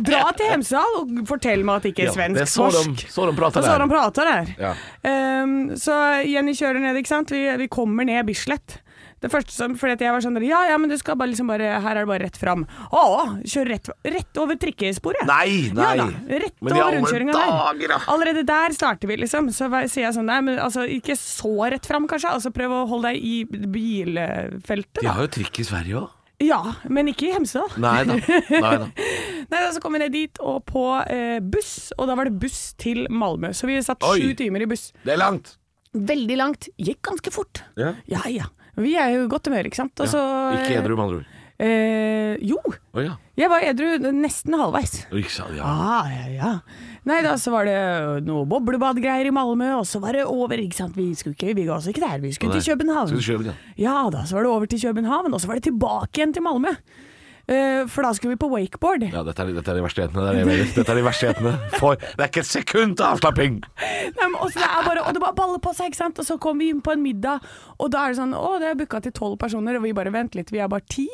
Speaker 4: Dra til Hemsedal og fortell meg at det ikke er
Speaker 3: Ja,
Speaker 4: svensk
Speaker 3: det er så de-
Speaker 4: norsk.
Speaker 3: så de prater
Speaker 4: Og så
Speaker 3: der.
Speaker 4: de prater der.
Speaker 3: Ja.
Speaker 4: Ehm, så Jenny kjører ned, ikke sant. Vi, vi kommer ned Bislett. Det første som, fordi at jeg var sånn der, Ja, ja, men du skal bare liksom bare Her er det bare rett fram. Å, kjør rett, rett over trikkesporet.
Speaker 3: Nei, nei.
Speaker 4: Ja da, rett
Speaker 3: Men i
Speaker 4: over
Speaker 3: alle
Speaker 4: rundkjøringa
Speaker 3: dager, da.
Speaker 4: der. Allerede der starter vi, liksom. Så var- sier jeg sånn Nei, men altså, ikke så rett fram, kanskje. Altså, prøv å holde deg i bilfeltet,
Speaker 3: De
Speaker 4: da.
Speaker 3: har jo trikk i Sverige òg.
Speaker 4: Ja, men ikke i Hemsedal.
Speaker 3: Nei da. Nei da.
Speaker 4: Nei, da, Så kom vi ned dit, og på eh, buss. Og da var det buss til Malmö. Så vi satt
Speaker 3: Oi.
Speaker 4: sju timer i buss.
Speaker 3: Det er langt.
Speaker 4: Veldig langt. Gikk ganske fort.
Speaker 3: Ja.
Speaker 4: ja. ja. Vi er jo i godt humør, ikke sant. Og så,
Speaker 3: Ikke edru, med andre ord.
Speaker 4: Eh, jo.
Speaker 3: Å ja.
Speaker 4: Jeg var edru nesten halvveis.
Speaker 3: Ikke sant, ja.
Speaker 4: Ah, ja, ja. Nei da, så var det noe boblebadgreier i Malmö, og så var det over, ikke sant. Vi skulle ikke, vi ga oss ikke der, vi skulle
Speaker 3: Nei.
Speaker 4: til København.
Speaker 3: Skal du kjøpe den?
Speaker 4: Ja da, så var det over til København, og så var det tilbake igjen til Malmö. Eh, For da skulle vi på wakeboard.
Speaker 3: Ja, dette er, dette er de verste jetene. Det er det jeg mener. Dette er de verste jetene. For det er ikke et sekund til avslapping!
Speaker 4: Nei, men også det er bare, og det bare baller på seg, ikke sant? Og så kommer vi inn på en middag, og da er det sånn Å, det er booka til tolv personer, og vi bare Vent litt, vi er bare ti.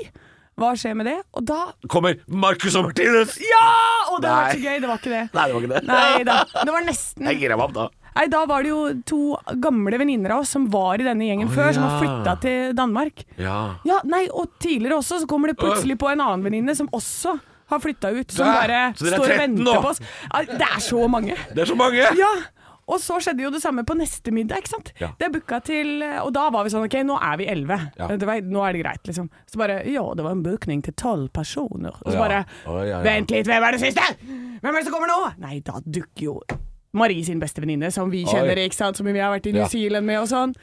Speaker 4: Hva skjer med det? Og da
Speaker 3: Kommer Marcus og Martinus!
Speaker 4: Ja! Og det var
Speaker 3: Nei.
Speaker 4: så gøy, det var ikke det.
Speaker 3: Nei, det var ikke det.
Speaker 4: Nei da. Det var nesten.
Speaker 3: Jeg gira meg opp da.
Speaker 4: Nei, da var det jo to gamle venninner av oss som var i denne gjengen
Speaker 3: Å,
Speaker 4: før, som
Speaker 3: ja.
Speaker 4: har flytta til Danmark.
Speaker 3: Ja.
Speaker 4: Ja, nei, og tidligere også så kommer det plutselig på en annen venninne som også har flytta ut, som
Speaker 3: Dæ!
Speaker 4: bare
Speaker 3: Så dere er
Speaker 4: står og
Speaker 3: 13
Speaker 4: venter
Speaker 3: nå?
Speaker 4: på oss. Ja, Det er så mange.
Speaker 3: Det er så mange!
Speaker 4: Ja, og så skjedde jo det samme på neste middag, ikke sant?
Speaker 3: Ja.
Speaker 4: Det er booka til Og da var vi sånn, ok, nå er vi elleve.
Speaker 3: Ja.
Speaker 4: Det var- Nå er det greit, liksom. Så bare Ja, det var en bookning til tolv personer. Og
Speaker 3: Å
Speaker 4: så
Speaker 3: ja.
Speaker 4: bare
Speaker 3: Å ja, ja.
Speaker 4: Vent litt, hvem er det siste? Hvem er det som kommer nå? Nei, da dukker jo Marie sin bestevenninne, som vi kjenner,
Speaker 3: Oi.
Speaker 4: ikke sant? Som vi har vært i New
Speaker 3: Ja.
Speaker 4: Zealand med og sånn.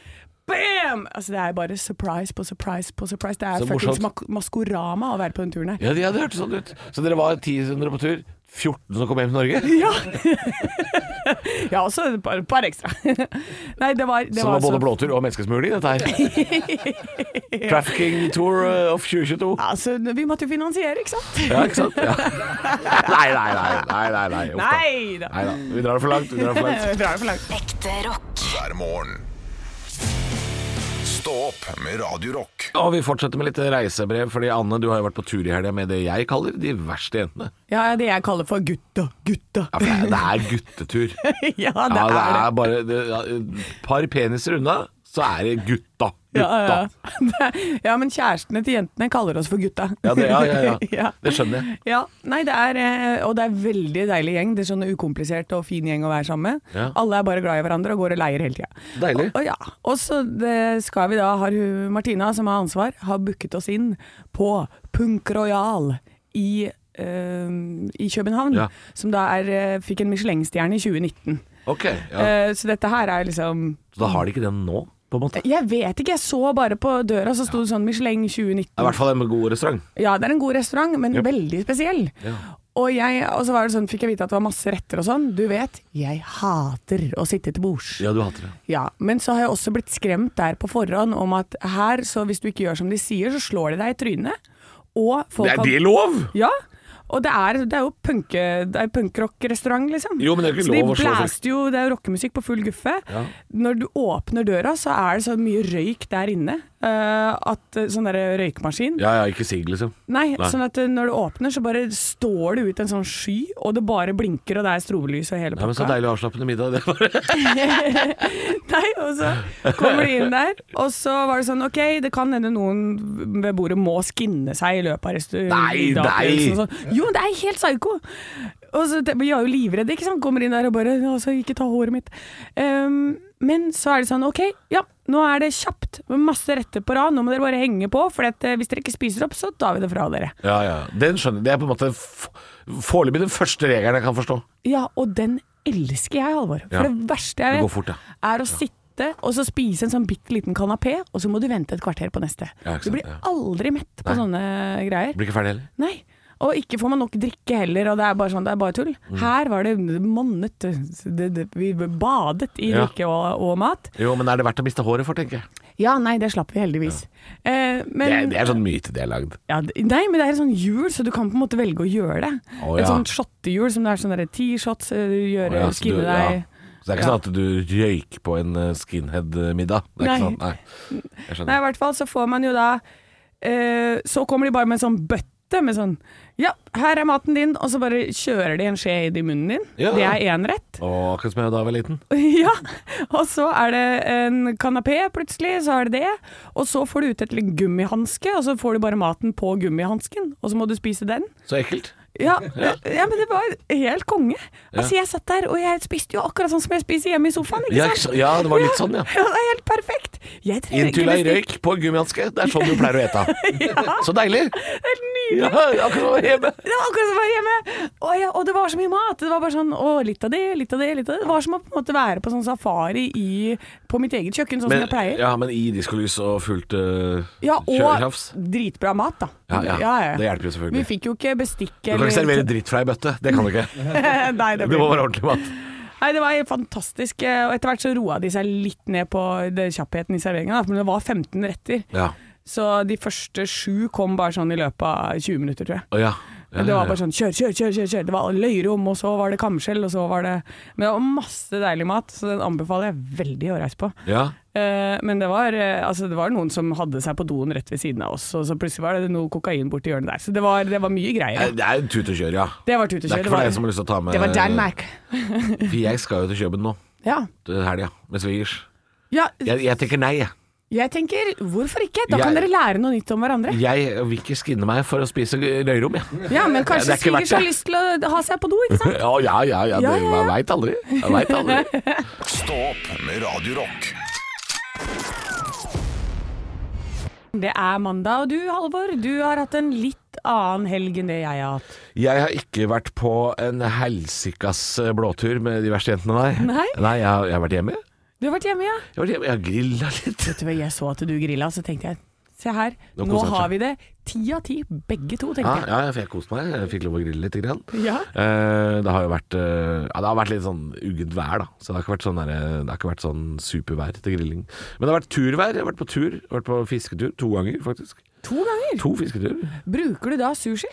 Speaker 4: Bam! Altså, det er bare surprise på surprise på surprise. Det er
Speaker 3: Så morsomt.
Speaker 4: fuckings mak- maskorama å være på den turen her.
Speaker 3: Ja, det, ja, det hørtes sånn ut. Så dere var ti som dere på tur, 14 som kom hjem til Norge?
Speaker 4: Ja! ja, også et par, par ekstra. Nei, det var, det
Speaker 3: Som var
Speaker 4: så-
Speaker 3: både blåtur og menneskesmugling, dette her. Trafficking tour eh, of 2022.
Speaker 4: Ja, Altså, vi måtte jo finansiere, ikke sant?
Speaker 3: Ja, ikke sant? Ja. Nei, nei, nei. nei, nei, nei. Uff da.
Speaker 4: Nei da.
Speaker 3: Nei da. Vi drar det for langt. Vi drar det for langt.
Speaker 4: Bra det for langt.
Speaker 7: Ekte rock.
Speaker 2: hver morgen. Stå opp med Radio Rock.
Speaker 3: Og vi fortsetter med litt reisebrev, fordi Anne, du har jo vært på tur i helga med det jeg kaller de verste jentene.
Speaker 4: Ja, det jeg kaller for gutta, gutta.
Speaker 3: Ja, for det er- det er guttetur.
Speaker 4: Ja, det
Speaker 3: Ja, det
Speaker 4: er det.
Speaker 3: er bare det, ja, et par peniser unna, så er det gutta.
Speaker 4: Ja,
Speaker 3: Gutta.
Speaker 4: ja. ja, men kjærestene til jentene kaller oss for gutta.
Speaker 3: Ja, det, ja, ja, ja.
Speaker 4: Ja.
Speaker 3: det skjønner jeg.
Speaker 4: Ja, nei, det er, eh, og det er veldig deilig gjeng. Det er sånn ukomplisert og fin gjeng å være sammen med.
Speaker 3: Ja.
Speaker 4: Alle er bare glad i hverandre og går og leier hele tida.
Speaker 3: Deilig.
Speaker 4: Og, og, ja. og så det skal vi da, har hun, Martina som har ansvar, har booket oss inn på Punk Royal i, eh, i København.
Speaker 3: Ja.
Speaker 4: Som da er, eh, fikk en Michelin-stjerne i 2019.
Speaker 3: Ok, ja.
Speaker 4: Eh, så dette her er liksom
Speaker 3: Så da har de ikke den nå, på en måte? Det
Speaker 4: Jeg vet ikke, jeg så bare på døra, så sto det sånn Michelin 2019.
Speaker 3: er i hvert fall en god restaurant.
Speaker 4: Ja, det er en god restaurant, men
Speaker 3: Yep.
Speaker 4: veldig spesiell.
Speaker 3: Ja.
Speaker 4: Og, jeg, og så var det sånn, fikk jeg vite at det var masse retter og sånn. Du vet, jeg hater å sitte til bords.
Speaker 3: Ja, du hater det.
Speaker 4: Ja, men så har jeg også blitt skremt der på forhånd om at her, så hvis du ikke gjør som de sier, så slår de deg i trynet. Og folk har-
Speaker 3: lov?
Speaker 4: Ja. Og det er, det er jo punke, det er punkrockrestaurant, liksom.
Speaker 3: Jo, men det er ikke
Speaker 4: så de
Speaker 3: lov å slå folk.
Speaker 4: blæste jo, det er jo rockemusikk på full guffe.
Speaker 3: Ja.
Speaker 4: Når du åpner døra, så er det så mye røyk der inne. eh, at eh, Sånn derre røykmaskin.
Speaker 3: Ja, ja, ikke sigg, liksom.
Speaker 4: Nei,
Speaker 3: Nei.
Speaker 4: sånn at eh, når du åpner, så bare står det ut en sånn sky, og det bare blinker, og det er strobelys og hele
Speaker 3: Nei, men Så
Speaker 4: pakka.
Speaker 3: deilig avslappende middag. Det var
Speaker 4: Nei, og så kommer de inn der, og så var det sånn OK, det kan hende noen ved bordet må skinne seg i løpet av restu-
Speaker 3: Nei,
Speaker 4: middagopplevelsen
Speaker 3: nei.
Speaker 4: og sånn. Jo, det er helt psyko! Og så, te- Vi er jo livredde, ikke sant. Kommer inn der og bare altså, Ikke ta håret mitt. Ehm, men så er det sånn OK, ja, nå er det kjapt. med Masse retter på rad. Nå må dere bare henge på, for at, eh, hvis dere ikke spiser opp, så tar vi det fra dere.
Speaker 3: Ja, ja. Den skjønner jeg. Det er på en måte f- foreløpig den første regelen jeg kan forstå.
Speaker 4: Ja, og den elsker jeg, Halvor. For
Speaker 3: Ja.
Speaker 4: det verste jeg
Speaker 3: Det går
Speaker 4: vet,
Speaker 3: fort, ja.
Speaker 4: er å sitte og så spise en sånn bitte liten kanapé, og så må du vente et kvarter på neste.
Speaker 3: Ja, ikke sant,
Speaker 4: du blir
Speaker 3: ja.
Speaker 4: aldri mett på sånne greier.
Speaker 3: Blir ikke ferdig heller.
Speaker 4: Nei. Og ikke får man nok drikke heller, og det er bare sånn, det er bare tull.
Speaker 3: Mm.
Speaker 4: Her var det monnet, det, det, vi badet i
Speaker 3: Ja.
Speaker 4: drikke og, og mat.
Speaker 3: Jo, men er det verdt å miste håret for, tenker jeg.
Speaker 4: Ja, nei, det slapp vi heldigvis. Eh,
Speaker 3: Det er,
Speaker 4: men,
Speaker 3: det er sånn myte de har lagd.
Speaker 4: ja, d- nei, men det er et sånn hjul, så du kan på en måte velge å gjøre det.
Speaker 3: Å,
Speaker 4: Et
Speaker 3: ja.
Speaker 4: sånt shottehjul som det er sånn derre ti shots, eh,
Speaker 3: Å,
Speaker 4: gjøre,
Speaker 3: ja, så du-
Speaker 4: skinne
Speaker 3: ja.
Speaker 4: deg.
Speaker 3: Så det er ikke sånn at du røyker på en eh, skinhead-middag. Det er ikke
Speaker 4: Nei.
Speaker 3: sånn, nei. Jeg
Speaker 4: Nei,
Speaker 3: skjønner.
Speaker 4: i hvert fall så får man jo da eh, Så kommer de bare med en sånn bøtte med sånn Ja, her er maten din, og så bare kjører de en skje inn i munnen din.
Speaker 3: Ja.
Speaker 4: Det er én rett.
Speaker 3: Å, akkurat som jeg da jeg var liten.
Speaker 4: ja. Og så er det en kanapé, plutselig, så er det det. Og så får du ut et lite gummihanske, og så får du bare maten på gummihansken, og så må du spise den.
Speaker 3: Så ekkelt.
Speaker 4: Ja, ja men det var helt konge. Altså, jeg satt der, og jeg spiste jo akkurat sånn som jeg spiser hjemme i sofaen,
Speaker 3: Ja,
Speaker 4: ikke
Speaker 3: ikke
Speaker 4: sant?
Speaker 3: sant? ja, det var litt sånn, ja.
Speaker 4: Ja, det er helt perfekt. Jeg trenger ikke
Speaker 3: Inntulla i
Speaker 4: bestikk.
Speaker 3: røyk på en gummihanske. Det er sånn du pleier å ete. Så deilig!
Speaker 4: Helt nydelig.
Speaker 3: Ja, akkurat som hjemme.
Speaker 4: Det var akkurat som å være hjemme! Og, jeg, og det var så mye mat. Det var bare sånn, å, litt av det, litt av det. litt av Det Det var som å på en måte være på sånn safari i, på mitt eget kjøkken, sånn som jeg pleier.
Speaker 3: ja, men i diskolys og fullt uh,
Speaker 4: Ja, og
Speaker 3: kjørekrafts.
Speaker 4: dritbra mat, da.
Speaker 3: Ja, ja. Det hjelper jo selvfølgelig.
Speaker 4: Vi fikk jo ikke bestikk
Speaker 3: Du kan ikke servere dritt fra ei bøtte. Det kan du ikke.
Speaker 4: Nei, det
Speaker 3: Det må
Speaker 4: blir...
Speaker 3: være ordentlig mat.
Speaker 4: Nei, det var helt fantastisk. eh, Og etter hvert så roa de seg litt ned på det kjappheten i serveringen, da. men det var 15 retter.
Speaker 3: Ja.
Speaker 4: Så de første sju kom bare sånn i løpet av 20 minutter, tror jeg.
Speaker 3: Å ja. Ja,
Speaker 4: Det
Speaker 3: ja,
Speaker 4: var
Speaker 3: ja.
Speaker 4: bare sånn kjør, kjør, kjør, kjør, kjør. Det var løyrom, og så var det kamskjell, og så var det Men det var masse deilig mat, så den anbefaler jeg veldig å reise på.
Speaker 3: ja.
Speaker 4: Eh, Men det var, eh, altså, det var noen som hadde seg på doen rett ved siden av oss, og så plutselig var det noe kokain borti hjørnet der. Så det var, det var mye
Speaker 3: Eh,
Speaker 4: greier.
Speaker 3: Det er tut og kjør, ja.
Speaker 4: Det var tut og
Speaker 3: Det er
Speaker 4: kjør.
Speaker 3: ikke for deg som har lyst til å ta med
Speaker 1: Det var Danmark.
Speaker 3: For jeg skal jo til Køben nå,
Speaker 4: Ja.
Speaker 3: til helga, med svigers.
Speaker 4: ja.
Speaker 3: Jeg, jeg tenker nei, jeg.
Speaker 4: Jeg tenker, hvorfor ikke? Da kan
Speaker 3: Jeg-
Speaker 4: dere lære noe nytt om hverandre.
Speaker 3: Jeg vil ikke skinne meg for å spise røyrom, jeg.
Speaker 4: Ja, men
Speaker 3: Det
Speaker 4: kanskje
Speaker 3: er ikke verdt
Speaker 4: svigers har
Speaker 3: det.
Speaker 4: lyst til å ha seg på do, ikke sant?
Speaker 3: Ja, ja, ja. ja,
Speaker 4: Ja,
Speaker 3: det,
Speaker 4: ja, ja.
Speaker 3: Man veit aldri. Man vet aldri.
Speaker 2: Stå opp med Radio Rock.
Speaker 4: Det er mandag, og du Halvor, du har hatt en litt annen helg enn det jeg har hatt.
Speaker 3: Jeg har ikke vært på en helsikas blåtur med de verste jentene, nei.
Speaker 4: Nei?
Speaker 3: jeg, har- jeg har vært hjemme. Jeg
Speaker 4: Du har vært hjemme, ja?
Speaker 3: har, vært hjemme. jeg har grilla litt.
Speaker 4: Vet du hva, jeg så at du grilla, så tenkte jeg Se her,
Speaker 3: Nå
Speaker 4: nå,
Speaker 3: koser han
Speaker 4: har
Speaker 3: seg.
Speaker 4: vi det ti av ti, begge to,
Speaker 3: Ja,
Speaker 4: tenkte jeg.
Speaker 3: ja, for jeg koste meg. Jeg fikk lov å grille litt. Grann.
Speaker 4: Ja.
Speaker 3: Eh, det har jo vært eh, Ja, det har vært litt sånn uggent vær, da. Så det har ikke vært sånn, der, det har ikke vært sånn supervær til grilling. Men det har vært turvær. Jeg har vært på tur. Jeg har vært på fisketur to ganger, faktisk.
Speaker 4: To ganger!
Speaker 3: To fisketurer.
Speaker 4: Bruker du da sushi?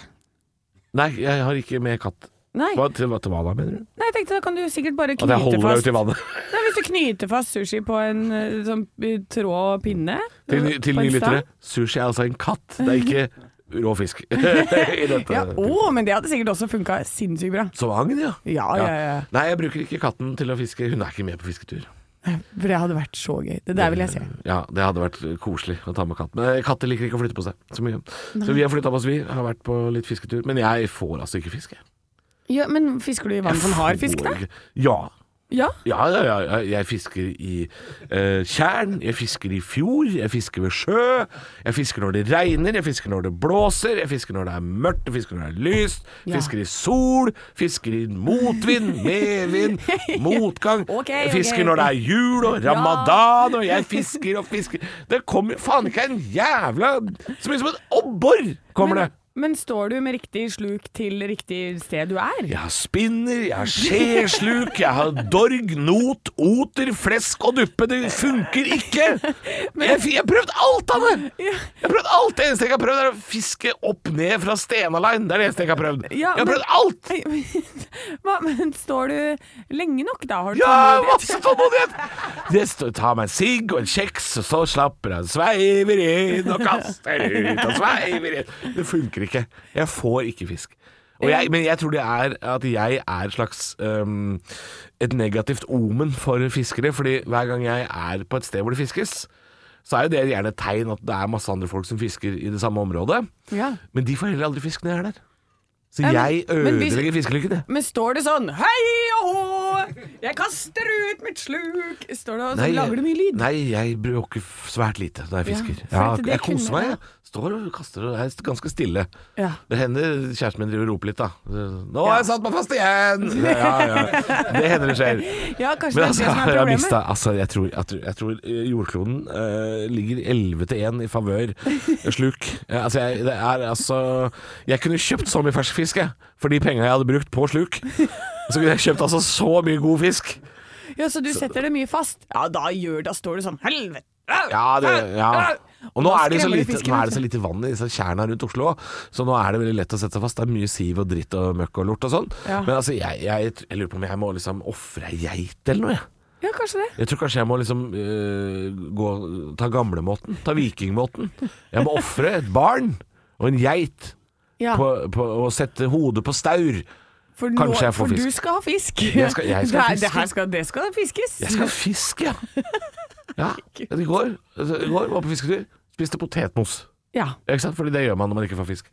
Speaker 3: Nei, jeg har ikke med katt.
Speaker 4: Nei,
Speaker 3: Hva til, hva til hva da, mener du?
Speaker 4: Nei jeg tenkte da kan du sikkert bare
Speaker 3: At
Speaker 4: knyte
Speaker 3: jeg holder meg
Speaker 4: fast
Speaker 3: uti vannet?
Speaker 4: Nei, Hvis du knyter fast sushi på en eh, sånn eh, tråd og pinne
Speaker 3: Til,
Speaker 4: eh,
Speaker 3: til
Speaker 4: på en
Speaker 3: nye lyttere,
Speaker 4: stang.
Speaker 3: sushi er altså en katt. Det er ikke rå fisk. I dette.
Speaker 4: Ja, å, men det hadde sikkert også funka sinnssykt bra.
Speaker 3: Som agn, ja.
Speaker 4: Ja, ja, ja.
Speaker 3: Nei, jeg bruker ikke katten til å fiske. Hun er ikke med på fisketur.
Speaker 4: For det hadde vært så gøy. Det der vil jeg se.
Speaker 3: Ja, det hadde vært koselig å ta med katt. Men eh, katter liker ikke å flytte på seg så mye. Så vi har flytta på oss, vi. Har vært på litt fisketur. Men jeg får altså ikke fiske.
Speaker 4: Ja, men fisker du i vann som har fisk, da?
Speaker 3: Får ikke- Ja.
Speaker 4: Ja.
Speaker 3: Ja, ja, ja, ja. Jeg fisker i eh, tjern, jeg fisker i fjord, jeg fisker ved sjø. Jeg fisker når det regner, jeg fisker når det blåser, jeg fisker når det er mørkt, jeg fisker når det er lyst.
Speaker 4: Ja.
Speaker 3: Fisker i sol, fisker i motvind, medvind, motgang.
Speaker 4: Ok,
Speaker 3: jeg fisker
Speaker 4: ok.
Speaker 3: når det er jul og ramadan, og jeg fisker og fisker. Det kommer faen ikke en jævla Så mye som et abbor kommer det.
Speaker 4: Men, men står du med riktig sluk til riktig sted du er?
Speaker 3: Jeg har spinner, jeg har skjesluk, jeg har dorg, not, oter, flesk og duppe. Det funker ikke! Jeg fi- jeg har prøvd alt av det! Jeg har prøvd alt Det eneste jeg har prøvd, er å fiske opp ned fra Stenaline. Det er det eneste jeg har prøvd. Jeg
Speaker 4: Ja,
Speaker 3: har
Speaker 4: men-
Speaker 3: prøvd alt!
Speaker 4: Ei, men- Hva, men står du lenge nok, da? Har du
Speaker 3: Ja,
Speaker 4: tålmodighet?
Speaker 3: masse tålmodighet! Det står tar meg en sigg og en kjeks, og så slapper han sveiver inn og kaster ut og sveiver inn. Det funker ikke. Jeg får ikke fisk. Og jeg, men jeg tror det er at jeg er et slags øhm, et negativt omen for fiskere. Fordi hver gang jeg er på et sted hvor det fiskes, så er jo det gjerne et tegn at det er masse andre folk som fisker i det samme området.
Speaker 4: Ja.
Speaker 3: Men de får heller aldri fisk når jeg er der. Så
Speaker 4: men-
Speaker 3: jeg
Speaker 4: men hvis-
Speaker 3: ødelegger fiskelykken, jeg.
Speaker 4: Men står det sånn Hei og hå, jeg kaster ut mitt sluk Står det og så
Speaker 3: Nei,
Speaker 4: lager du mye lyd?
Speaker 3: Nei, jeg bruker f- svært lite når jeg
Speaker 4: Ja,
Speaker 3: fisker.
Speaker 4: for
Speaker 3: Ja,
Speaker 4: at det
Speaker 3: jeg
Speaker 4: kunne
Speaker 3: koser meg.
Speaker 4: jeg.
Speaker 3: jeg. Står og kaster og er ganske stille.
Speaker 4: Ja.
Speaker 3: Det hender kjæresten min driver og roper litt, da. 'Nå har jeg satt meg fast igjen!' Ja, ja. Det hender det skjer.
Speaker 4: Ja, kanskje
Speaker 3: Men
Speaker 4: det er
Speaker 3: altså,
Speaker 4: det som er
Speaker 3: jeg har
Speaker 4: problemet.
Speaker 3: mista altså, jeg, tror, jeg, tror, jeg tror eh, jordkloden eh, ligger 11 til 1 i favør sluk. Eh, altså, jeg, det er, altså, jeg kunne kjøpt så mye fersk fisk jeg, for de penga jeg hadde brukt på sluk. Så kunne jeg kjøpt altså, så mye god fisk.
Speaker 4: Ja, Så du setter det mye fast? Ja, da gjør Da står det sånn Helvete!
Speaker 3: Ja, det, ja. Og nå
Speaker 4: Da
Speaker 3: er, det så
Speaker 4: skremmer de
Speaker 3: lite,
Speaker 4: fisken,
Speaker 3: nå er
Speaker 4: vet
Speaker 3: det så lite vann i disse tjerna rundt Oslo, så nå er det veldig lett å sette seg fast. Det er mye siv og dritt og møkk og lort og sånn.
Speaker 4: Ja.
Speaker 3: Men altså, jeg, jeg, jeg lurer på om jeg må liksom ofre ei geit eller noe, jeg.
Speaker 4: Ja, kanskje det.
Speaker 3: Jeg tror kanskje jeg må liksom øh, gå, ta gamlemåten. Ta vikingmåten. Jeg må ofre et barn og en geit
Speaker 4: Ja,
Speaker 3: på, på, og sette hodet på staur.
Speaker 4: for
Speaker 3: kanskje jeg får
Speaker 4: for
Speaker 3: fisk.
Speaker 4: du skal ha fisk.
Speaker 3: Jeg skal- jeg skal
Speaker 4: det,
Speaker 3: ha
Speaker 4: er- Det,
Speaker 3: fisk.
Speaker 4: her skal, det skal fiskes.
Speaker 3: Jeg skal ha fisk, ja. Ja, I går, altså, i går var jeg på fisketur. Spiste potetmos.
Speaker 4: Ja.
Speaker 3: Ja, Ikke sant? Fordi det gjør man når man ikke får fisk.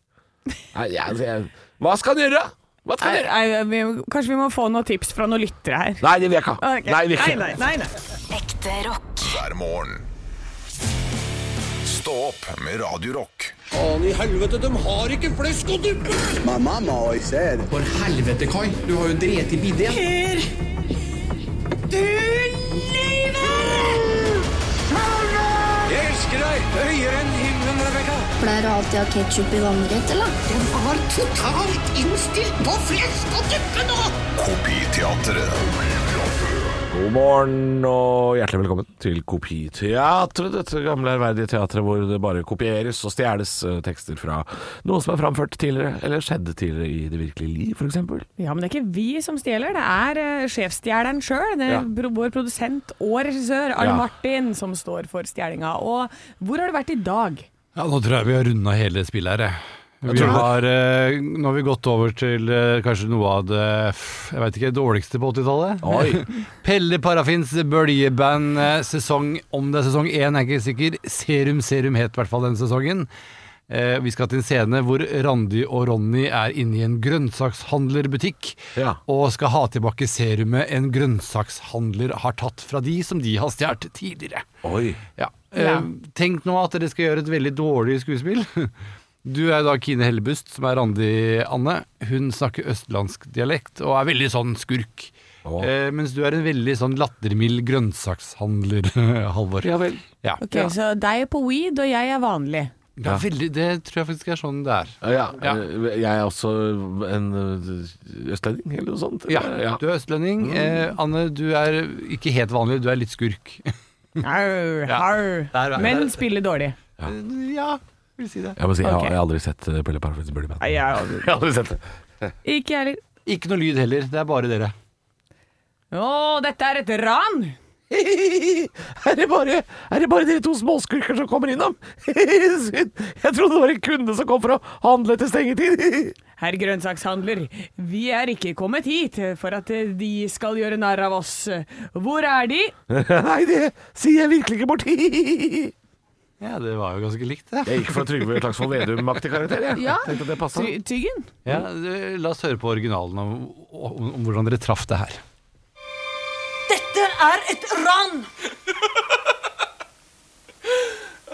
Speaker 3: Nei, jeg, altså, jeg, hva skal han gjøre? Hva skal han
Speaker 4: Nei,
Speaker 3: gjøre?
Speaker 4: nei, vi- kanskje vi må få noen tips fra noen lyttere her.
Speaker 3: Nei, det vil jeg ikke ha.
Speaker 4: Ok.
Speaker 3: Nei, det vil jeg
Speaker 4: nei,
Speaker 3: ikke.
Speaker 4: nei, nei, nei.
Speaker 7: Ekte rock.
Speaker 2: hver morgen. Stå opp med Radio Rock.
Speaker 8: My mom always said,
Speaker 9: For helvete, Kai. Du har jo drept i bidet.
Speaker 10: Pleier du alltid å ha ketsjup i vannrett, eller?
Speaker 2: Kopiteatret.
Speaker 3: God morgen og hjertelig velkommen til Kopiteatret. Dette gamle ærverdige teatret hvor det bare kopieres og stjeles eh, tekster fra noe som er framført tidligere, eller skjedde tidligere i det virkelige liv, f.eks.
Speaker 4: Ja, men det er ikke vi som stjeler, det er eh, sjefsstjeleren sjøl. Det er
Speaker 3: Ja.
Speaker 4: pro- vår produsent og regissør Arne
Speaker 3: Ja.
Speaker 4: Martin som står for stjelinga. Og hvor har du vært i dag?
Speaker 11: Ja, nå tror jeg vi har runda hele spillet her. jeg. Vi
Speaker 3: tror det.
Speaker 11: har, eh, nå har vi gått over til eh, kanskje noe av det f- jeg vet ikke, dårligste på 80-tallet.
Speaker 3: Oi.
Speaker 11: Pelle Parafins bøljeband eh, sesong, om det er sesong én, er jeg ikke sikker. Serum Serum het i hvert fall den sesongen. Eh, vi skal til en scene hvor Randi og Ronny er inne i en grønnsakshandlerbutikk
Speaker 3: Ja.
Speaker 11: og skal ha tilbake serumet en grønnsakshandler har tatt fra de som de har stjålet tidligere.
Speaker 3: Oi.
Speaker 11: Ja.
Speaker 4: Ja.
Speaker 11: Eh, tenk nå at dere skal gjøre et veldig dårlig skuespill. Du er da Kine Hellebust, som er Randi Anne. Hun snakker østlandsk dialekt og er veldig sånn skurk.
Speaker 3: Å.
Speaker 11: Eh, mens du er en veldig sånn lattermild grønnsakshandler, Halvor.
Speaker 3: Ja vel.
Speaker 11: Ja.
Speaker 4: Ok, Så deg er på weed, og jeg er vanlig.
Speaker 11: Ja, veldig, det tror jeg faktisk er sånn det er.
Speaker 3: Ja,
Speaker 11: Ja.
Speaker 3: eh, Jeg er også en eh, østlending, eller noe sånt.
Speaker 11: Ja,
Speaker 3: Eh,
Speaker 11: Du er østlending. Eh, Anne, du er ikke helt vanlig, du er litt skurk.
Speaker 4: Arr,
Speaker 11: Ja. Der
Speaker 4: arr.
Speaker 11: var jeg.
Speaker 4: Men spiller dårlig.
Speaker 11: ja, vil si det.
Speaker 3: Jeg må si, jeg, har-
Speaker 4: Ok.
Speaker 3: jeg har aldri sett eh, Pelle Parafins Bullyband.
Speaker 4: Nei, jeg-
Speaker 3: Jeg har aldri sett det.
Speaker 4: Ikke jeg heller.
Speaker 11: Ikke noe lyd heller, det er bare dere.
Speaker 4: Å, dette er et ran!
Speaker 3: Er det, bare, er det bare dere to småskurker som kommer innom? Synd. Jeg trodde det var en kunde som kom for å handle etter stengetid.
Speaker 4: Herr grønnsakshandler, vi er ikke kommet hit for at eh, de skal gjøre narr av oss. Hvor er de?
Speaker 3: Nei, det sier jeg virkelig ikke borti.
Speaker 11: Ja, det var jo ganske likt, det.
Speaker 3: Jeg gikk for Trygve Slagsvold Vedum-aktig karakter, jeg.
Speaker 4: Ja.
Speaker 3: Tenkte at det passa.
Speaker 4: Ty tyggen?
Speaker 11: Ja, det- la oss høre på originalen om, om, om hvordan dere traff det her.
Speaker 7: Dette er et ran!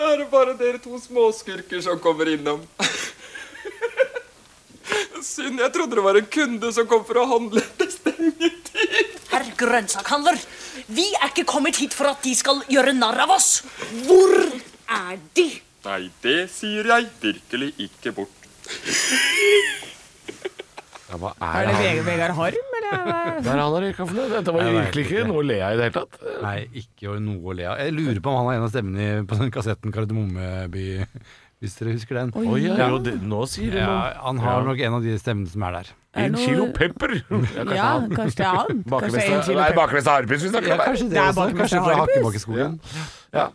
Speaker 9: Er det bare dere to småskurker som kommer innom? Synd, jeg trodde det var en kunde som kom for å handle etter stengetid.
Speaker 7: Herr grønnsakhandler, vi er ikke kommet hit for at de skal gjøre narr av oss. Hvor er de?
Speaker 9: Nei, det sier jeg virkelig ikke bort.
Speaker 3: Ja, hva er
Speaker 4: Er det
Speaker 3: han?
Speaker 4: Ve- Vegard Harm, eller? hva?
Speaker 3: Hva er han har røyka for noe? Dette var
Speaker 11: Jeg
Speaker 3: jo
Speaker 11: vet
Speaker 3: virkelig
Speaker 11: ikke.
Speaker 3: ikke noe å le av i det hele tatt.
Speaker 11: Nei, ikke noe å le av. Jeg lurer på om han er en av stemmene i- på den kassetten Kardemommeby, hvis dere husker den.
Speaker 3: Oi, ja, jo, det, nå sier du noe.
Speaker 11: Ja, han har
Speaker 3: Ja.
Speaker 11: nok en av de stemmene som er der.
Speaker 4: Er det
Speaker 3: En
Speaker 4: noe-
Speaker 3: kilo pepper! Ja,
Speaker 4: Ja, kanskje det er han. Kanskje det er en
Speaker 3: Bakermester
Speaker 4: kilo
Speaker 3: Nei,
Speaker 4: pepper.
Speaker 3: bakermester Harpis vi snakker
Speaker 11: Ja,
Speaker 3: om her.
Speaker 11: kanskje det,
Speaker 4: Det er
Speaker 11: også.
Speaker 4: Bakermester
Speaker 11: Kanskje fra
Speaker 4: Harpus.
Speaker 11: Hakebakkeskogen.
Speaker 3: Ja.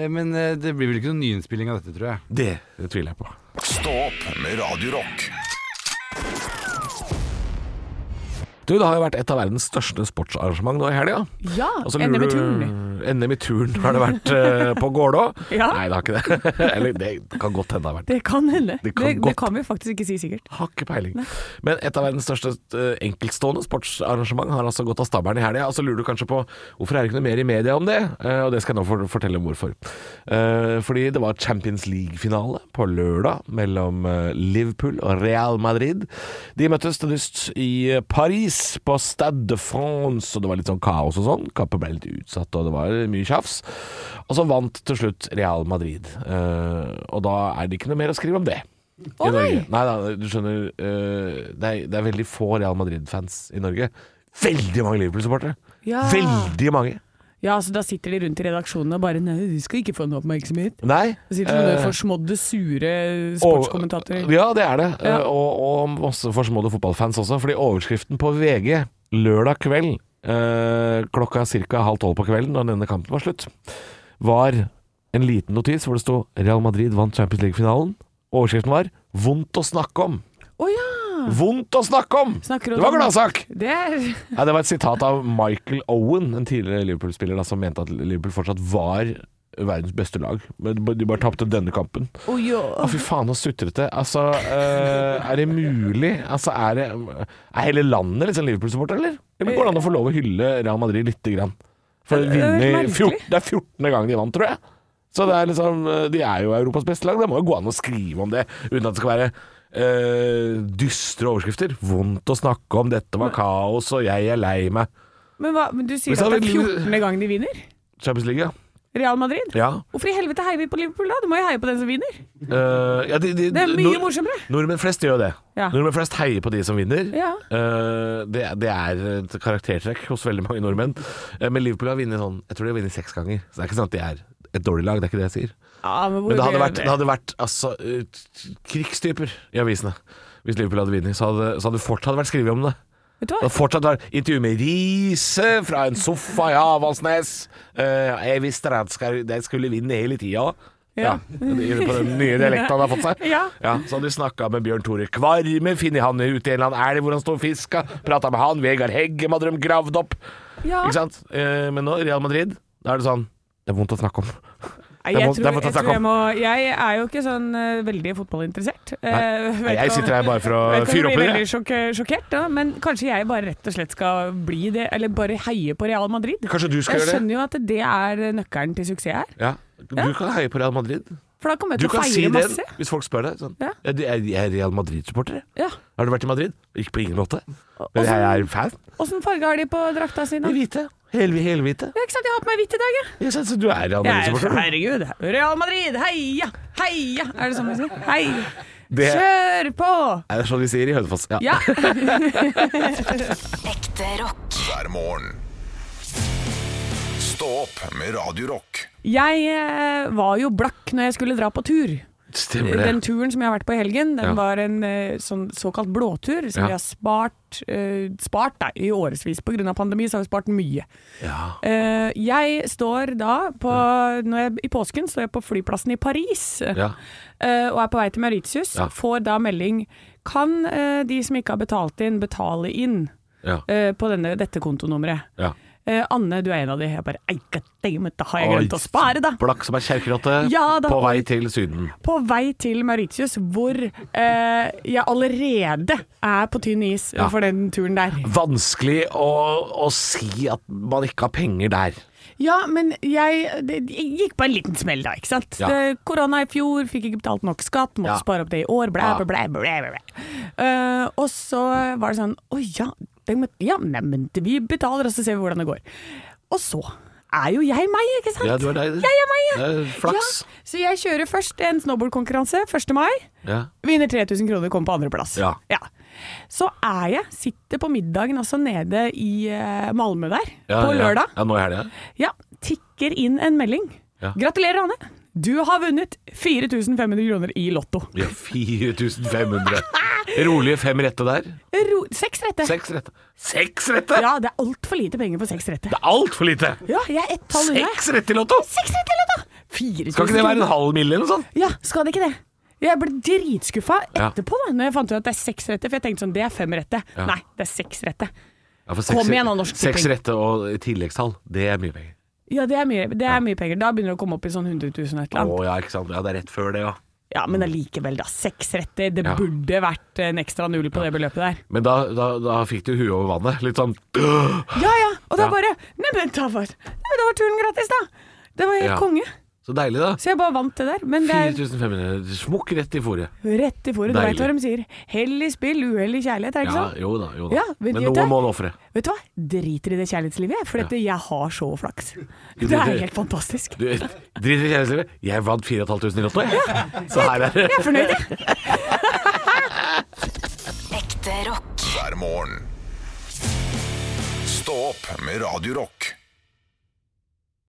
Speaker 11: Eh, Men eh, det blir vel ikke noen nyinnspilling av dette, tror jeg.
Speaker 3: Det, det tviler jeg på.
Speaker 2: Stå opp med Radio Rock.
Speaker 3: Du, det har jo vært et av verdens største sportsarrangement nå i helga.
Speaker 4: Ja,
Speaker 3: Og så
Speaker 4: NM i
Speaker 3: lurer du-
Speaker 4: turn.
Speaker 3: NM i turn har det vært eh, på Gålå.
Speaker 4: Ja.
Speaker 3: Nei, det har ikke det. Eller det kan godt hende det har vært det.
Speaker 4: Det kan hende.
Speaker 3: Det
Speaker 4: Det
Speaker 3: kan
Speaker 4: kan, det,
Speaker 3: godt.
Speaker 4: kan vi faktisk ikke si sikkert.
Speaker 3: Har ikke peiling. Men et av verdens største eh, enkeltstående sportsarrangement har altså gått av stabelen i helga. Og så lurer du kanskje på hvorfor er det ikke noe mer i media om det? Eh, og det skal jeg nå for fortelle om hvorfor. Eh, fordi det var Champions League-finale på lørdag mellom eh, Liverpool og Real Madrid. De møttes til dyst i eh, Paris, på Stade de France, og det var litt sånn kaos og sånn. Kampen ble litt utsatt, og det var mye tjafs. Og så vant til slutt Real Madrid. Eh, og da er det ikke noe mer å skrive om det.
Speaker 4: Å,
Speaker 3: I Norge.
Speaker 4: nei!
Speaker 3: Nei da, du skjønner eh, det, er, det er veldig få Real Madrid-fans i Norge. Veldig mange Liverpool-supportere.
Speaker 4: Ja.
Speaker 3: Veldig mange.
Speaker 4: Ja, så da sitter de rundt i redaksjonen og bare Nei, du skal ikke få noe oppmerksomhet.
Speaker 3: Nei.
Speaker 4: Så sitter de sånne
Speaker 3: eh,
Speaker 4: forsmådde, sure
Speaker 3: og-
Speaker 4: sportskommentatorer.
Speaker 3: Ja, det er det. Eh,
Speaker 4: Ja.
Speaker 3: Og, og masse forsmådde fotballfans også. Fordi overskriften på VG lørdag kveld, eh, klokka ca. halv tolv på kvelden da denne kampen var slutt, var en liten notis hvor det sto 'Real Madrid vant Champions League-finalen'. Overskriften var 'Vondt å snakke om'.
Speaker 4: Å ja!
Speaker 3: Vondt å snakke om!
Speaker 4: Snakker
Speaker 3: Det
Speaker 4: om
Speaker 3: var gladsak!
Speaker 4: Det er
Speaker 3: Ja, det var et sitat av Michael Owen, en tidligere Liverpool-spiller, da, som mente at Liverpool fortsatt var verdens beste lag. Men de bare tapte denne kampen.
Speaker 4: Å ja.
Speaker 3: Å, fy faen, så sutrete. Altså, eh, er det mulig? Altså, er, det, er hele landet liksom Liverpool-supporter, eller? Eller går det an å få lov å hylle Real Madrid lite grann? For de
Speaker 4: Det er
Speaker 3: vinner
Speaker 4: merkelig.
Speaker 3: 14, Det er 14. gang de vant, tror jeg. Så det er liksom, eh, de er jo Europas beste lag. Det må jo gå an å skrive om det uten at det skal være eh, dystre overskrifter. Vondt å snakke om, dette var kaos, og jeg er lei meg.
Speaker 4: Men, hva, men du sier
Speaker 3: Hvis
Speaker 4: at det
Speaker 3: han
Speaker 4: er
Speaker 3: vil-
Speaker 4: 14. gang de vinner?
Speaker 3: Champions League, ja.
Speaker 4: Real Madrid.
Speaker 3: Ja.
Speaker 4: Hvorfor i helvete heier vi på Liverpool da? Du må jo heie på den som vinner.
Speaker 3: Eh, ja, de, de,
Speaker 4: Det er mye
Speaker 3: nor-
Speaker 4: morsommere.
Speaker 3: Nordmenn flest gjør det.
Speaker 4: Ja.
Speaker 3: Nordmenn flest heier på de som vinner.
Speaker 4: Ja.
Speaker 3: Eh, det, det er et karaktertrekk hos veldig mange nordmenn. Eh, men Liverpool har vunnet sånn Jeg tror de har vunnet seks ganger. Så det er ikke sånn at de er et dårlig lag, det er ikke det jeg sier.
Speaker 4: Ja, men, hvor
Speaker 3: Men det hadde
Speaker 4: mye-
Speaker 3: vært, det hadde vært altså, eh, krigstyper i avisene hvis Liverpool hadde vunnet. Så hadde så hadde det fortsatt vært skrevet om det.
Speaker 4: Vet du
Speaker 3: Det
Speaker 4: hva?
Speaker 3: hadde fortsatt vært intervju med Riise fra en sofa i Avaldsnes. Eh, jeg visste at skal- de skulle vinne hele tida. Ja. det- På den nye dialekten han har fått seg.
Speaker 4: Ja.
Speaker 3: Så hadde de snakka med Bjørn Tore Kvarme, funnet han ute i en eller annen elv hvor han sto og fiska. Prata med han, Vegard Heggem hadde de gravd opp.
Speaker 4: Ja.
Speaker 3: Ikke sant? Eh, men nå, Real Madrid, da er det sånn Det er vondt å snakke om.
Speaker 4: Nei,
Speaker 3: Det er
Speaker 4: Jeg,
Speaker 3: vondt- det er
Speaker 4: tror,
Speaker 3: vondt å
Speaker 4: jeg,
Speaker 3: snakke
Speaker 4: tror jeg,
Speaker 3: om.
Speaker 4: må, jeg er jo ikke sånn eh, veldig fotballinteressert. Eh,
Speaker 3: Nei.
Speaker 4: vet
Speaker 3: Nei, jeg
Speaker 4: ikke om-
Speaker 3: sitter her bare for å
Speaker 4: vet ikke om
Speaker 3: fyre opp
Speaker 4: Jeg blir
Speaker 3: i
Speaker 4: veldig sjokk, sjokkert, da, men kanskje jeg bare rett og slett skal bli det, eller bare heie på Real Madrid.
Speaker 3: Kanskje du skal
Speaker 4: jeg
Speaker 3: gjøre det?
Speaker 4: skjønner jo at det er nøkkelen til suksess her,
Speaker 3: Ja. Du kan heie på Real Madrid.
Speaker 4: for da kommer jeg
Speaker 3: Du
Speaker 4: til å
Speaker 3: kan
Speaker 4: feire
Speaker 3: si det
Speaker 4: masse.
Speaker 3: hvis folk spør deg. Sånn.
Speaker 4: Ja.
Speaker 3: Ja. du, Jeg jeg er Real Madrid-supporter. jeg.
Speaker 4: Ja.
Speaker 3: Har du vært i Madrid? Ikke på ingen måte. Men
Speaker 4: og
Speaker 3: jeg
Speaker 4: så-
Speaker 3: er fan.
Speaker 4: Åssen farge har de på drakta si
Speaker 3: De
Speaker 4: nå?
Speaker 3: hvite. Hel, helhvite.
Speaker 4: Ja, ikke sant, jeg har på meg hvitt i dag, jeg.
Speaker 3: Jeg synes du er Real
Speaker 4: Jeg er-
Speaker 3: Madrid-supporter.
Speaker 4: Herregud, Real Madrid, heia, heia! Er det sånn man sier? Hei!
Speaker 3: du. Det
Speaker 4: Kjør på!
Speaker 3: er sånn de sier i Hønefoss. Ja.
Speaker 4: Ja.
Speaker 2: Ekte rock. Hver morgen. Stå opp med Radio Rock.
Speaker 4: Jeg eh, var jo blakk når jeg skulle dra på tur.
Speaker 3: Stemmer det.
Speaker 4: Den turen som jeg har vært på i helgen,
Speaker 3: Ja.
Speaker 4: den var en eh, sånn såkalt blåtur, som
Speaker 3: Ja.
Speaker 4: vi har spart, eh, spart nei, i årevis. Pga. pandemi så har vi spart mye.
Speaker 3: Ja.
Speaker 4: Eh, jeg står da på når jeg, I påsken står jeg på flyplassen i Paris
Speaker 3: Ja.
Speaker 4: eh, og er på vei til Mauritius.
Speaker 3: Ja.
Speaker 4: Får da melding Kan eh, de som ikke har betalt inn, betale inn
Speaker 3: Ja.
Speaker 4: eh, på denne, dette kontonummeret?
Speaker 3: ja.
Speaker 4: Eh, Anne, du er en av de. Jeg bare Ei, goddammit, da har jeg
Speaker 3: Oi,
Speaker 4: glemt å spare, da!
Speaker 3: Blakk som er kjerkerotte
Speaker 4: Ja, da-
Speaker 3: på vei til Syden.
Speaker 4: på vei til Mauritius, hvor eh, jeg allerede er på tynn is
Speaker 3: Ja.
Speaker 4: for den turen der.
Speaker 3: Vanskelig å, å si at man ikke har penger der.
Speaker 4: Ja, men jeg, det, jeg gikk på en liten smell da, ikke sant?
Speaker 3: Ja.
Speaker 4: Det, korona i fjor, fikk ikke betalt nok skatt,
Speaker 3: Ja.
Speaker 4: måtte spare opp det i år, blæ,
Speaker 3: Ja.
Speaker 4: blæ, blæ, blæ, blæ, blæ. Eh, og så var det sånn, å ja, det må- ja nei, men vi betaler, og så ser vi hvordan det går. Og så er jo jeg meg, ikke sant?
Speaker 3: Ja, du er deg.
Speaker 4: Jeg er meg, ja.
Speaker 3: Det er flaks.
Speaker 4: Ja, så jeg kjører først en snowboardkonkurranse, 1. mai.
Speaker 3: Ja.
Speaker 4: Vinner 3000 kroner, kommer på andreplass.
Speaker 3: Ja.
Speaker 4: Så er jeg, sitter på middagen også nede i eh, Malmö der,
Speaker 3: Ja,
Speaker 4: på
Speaker 3: ja.
Speaker 4: lørdag.
Speaker 3: Ja, nå i helga.
Speaker 4: Ja, tikker inn en melding.
Speaker 3: Ja.
Speaker 4: Gratulerer, Anne! Du har vunnet 4500 kroner i Lotto.
Speaker 3: Ja, 4500. Rolige fem rette der.
Speaker 4: Ro seks rette.
Speaker 3: Seks rette. Seks rette?!
Speaker 4: Ja, det er altfor lite penger for seks rette.
Speaker 3: Det er altfor lite!
Speaker 4: Ja, jeg er ett tall unna.
Speaker 3: Seks rette i Lotto!
Speaker 4: Seks rette i Lotto! 4000
Speaker 3: Skal ikke det være en
Speaker 4: kroner.
Speaker 3: halv mille eller noe sånt?
Speaker 4: Ja, skal det ikke det? Jeg ble dritskuffa
Speaker 3: Ja.
Speaker 4: etterpå da når jeg fant ut at det er seks rette, for jeg tenkte sånn, det er fem rette.
Speaker 3: Ja.
Speaker 4: Nei, det er seks rette.
Speaker 3: Ja, for
Speaker 4: Kom igjen da, Norsk
Speaker 3: Seks
Speaker 4: Tipping.
Speaker 3: rette og tilleggstall, det er mye penger.
Speaker 4: Ja, det er mye, det er mye penger. Da begynner det å komme opp i sånn 100 000 og et eller
Speaker 3: Å
Speaker 4: annet.
Speaker 3: ja, ikke sant. Ja, det er rett før det, ja.
Speaker 4: Ja, men allikevel, da. Seks retter. Det
Speaker 3: Ja.
Speaker 4: burde vært en ekstra null på det beløpet der.
Speaker 3: Men da, da, da fikk du huet over vannet. Litt sånn
Speaker 4: Ja ja, og da
Speaker 3: Ja.
Speaker 4: bare Neimen, da var, nei, men da var turen gratis, da! Det var helt
Speaker 3: Ja.
Speaker 4: konge.
Speaker 3: Så deilig, da.
Speaker 4: Så jeg bare vant det der. Men det
Speaker 3: 4500. Smukk rett i fòret.
Speaker 4: er rett i fòret. Du
Speaker 3: Deilig.
Speaker 4: veit hva de sier. Hell i spill, uhell i kjærlighet, er det ikke
Speaker 3: Ja,
Speaker 4: sant?
Speaker 3: jo da, jo da.
Speaker 4: Ja,
Speaker 3: men
Speaker 4: vet du
Speaker 3: noe
Speaker 4: det?
Speaker 3: må du ofre.
Speaker 4: Vet du hva? Driter i det kjærlighetslivet, jeg, for dette, jeg har så flaks.
Speaker 3: Du-
Speaker 4: Det
Speaker 3: du-
Speaker 4: er helt fantastisk.
Speaker 3: Du, Drit i kjærlighetslivet. Jeg vant 4500 i Lotto, jeg. Så her er det.
Speaker 4: Jeg er fornøyd, jeg.
Speaker 2: Hver morgen. Stå opp med Radio Rock.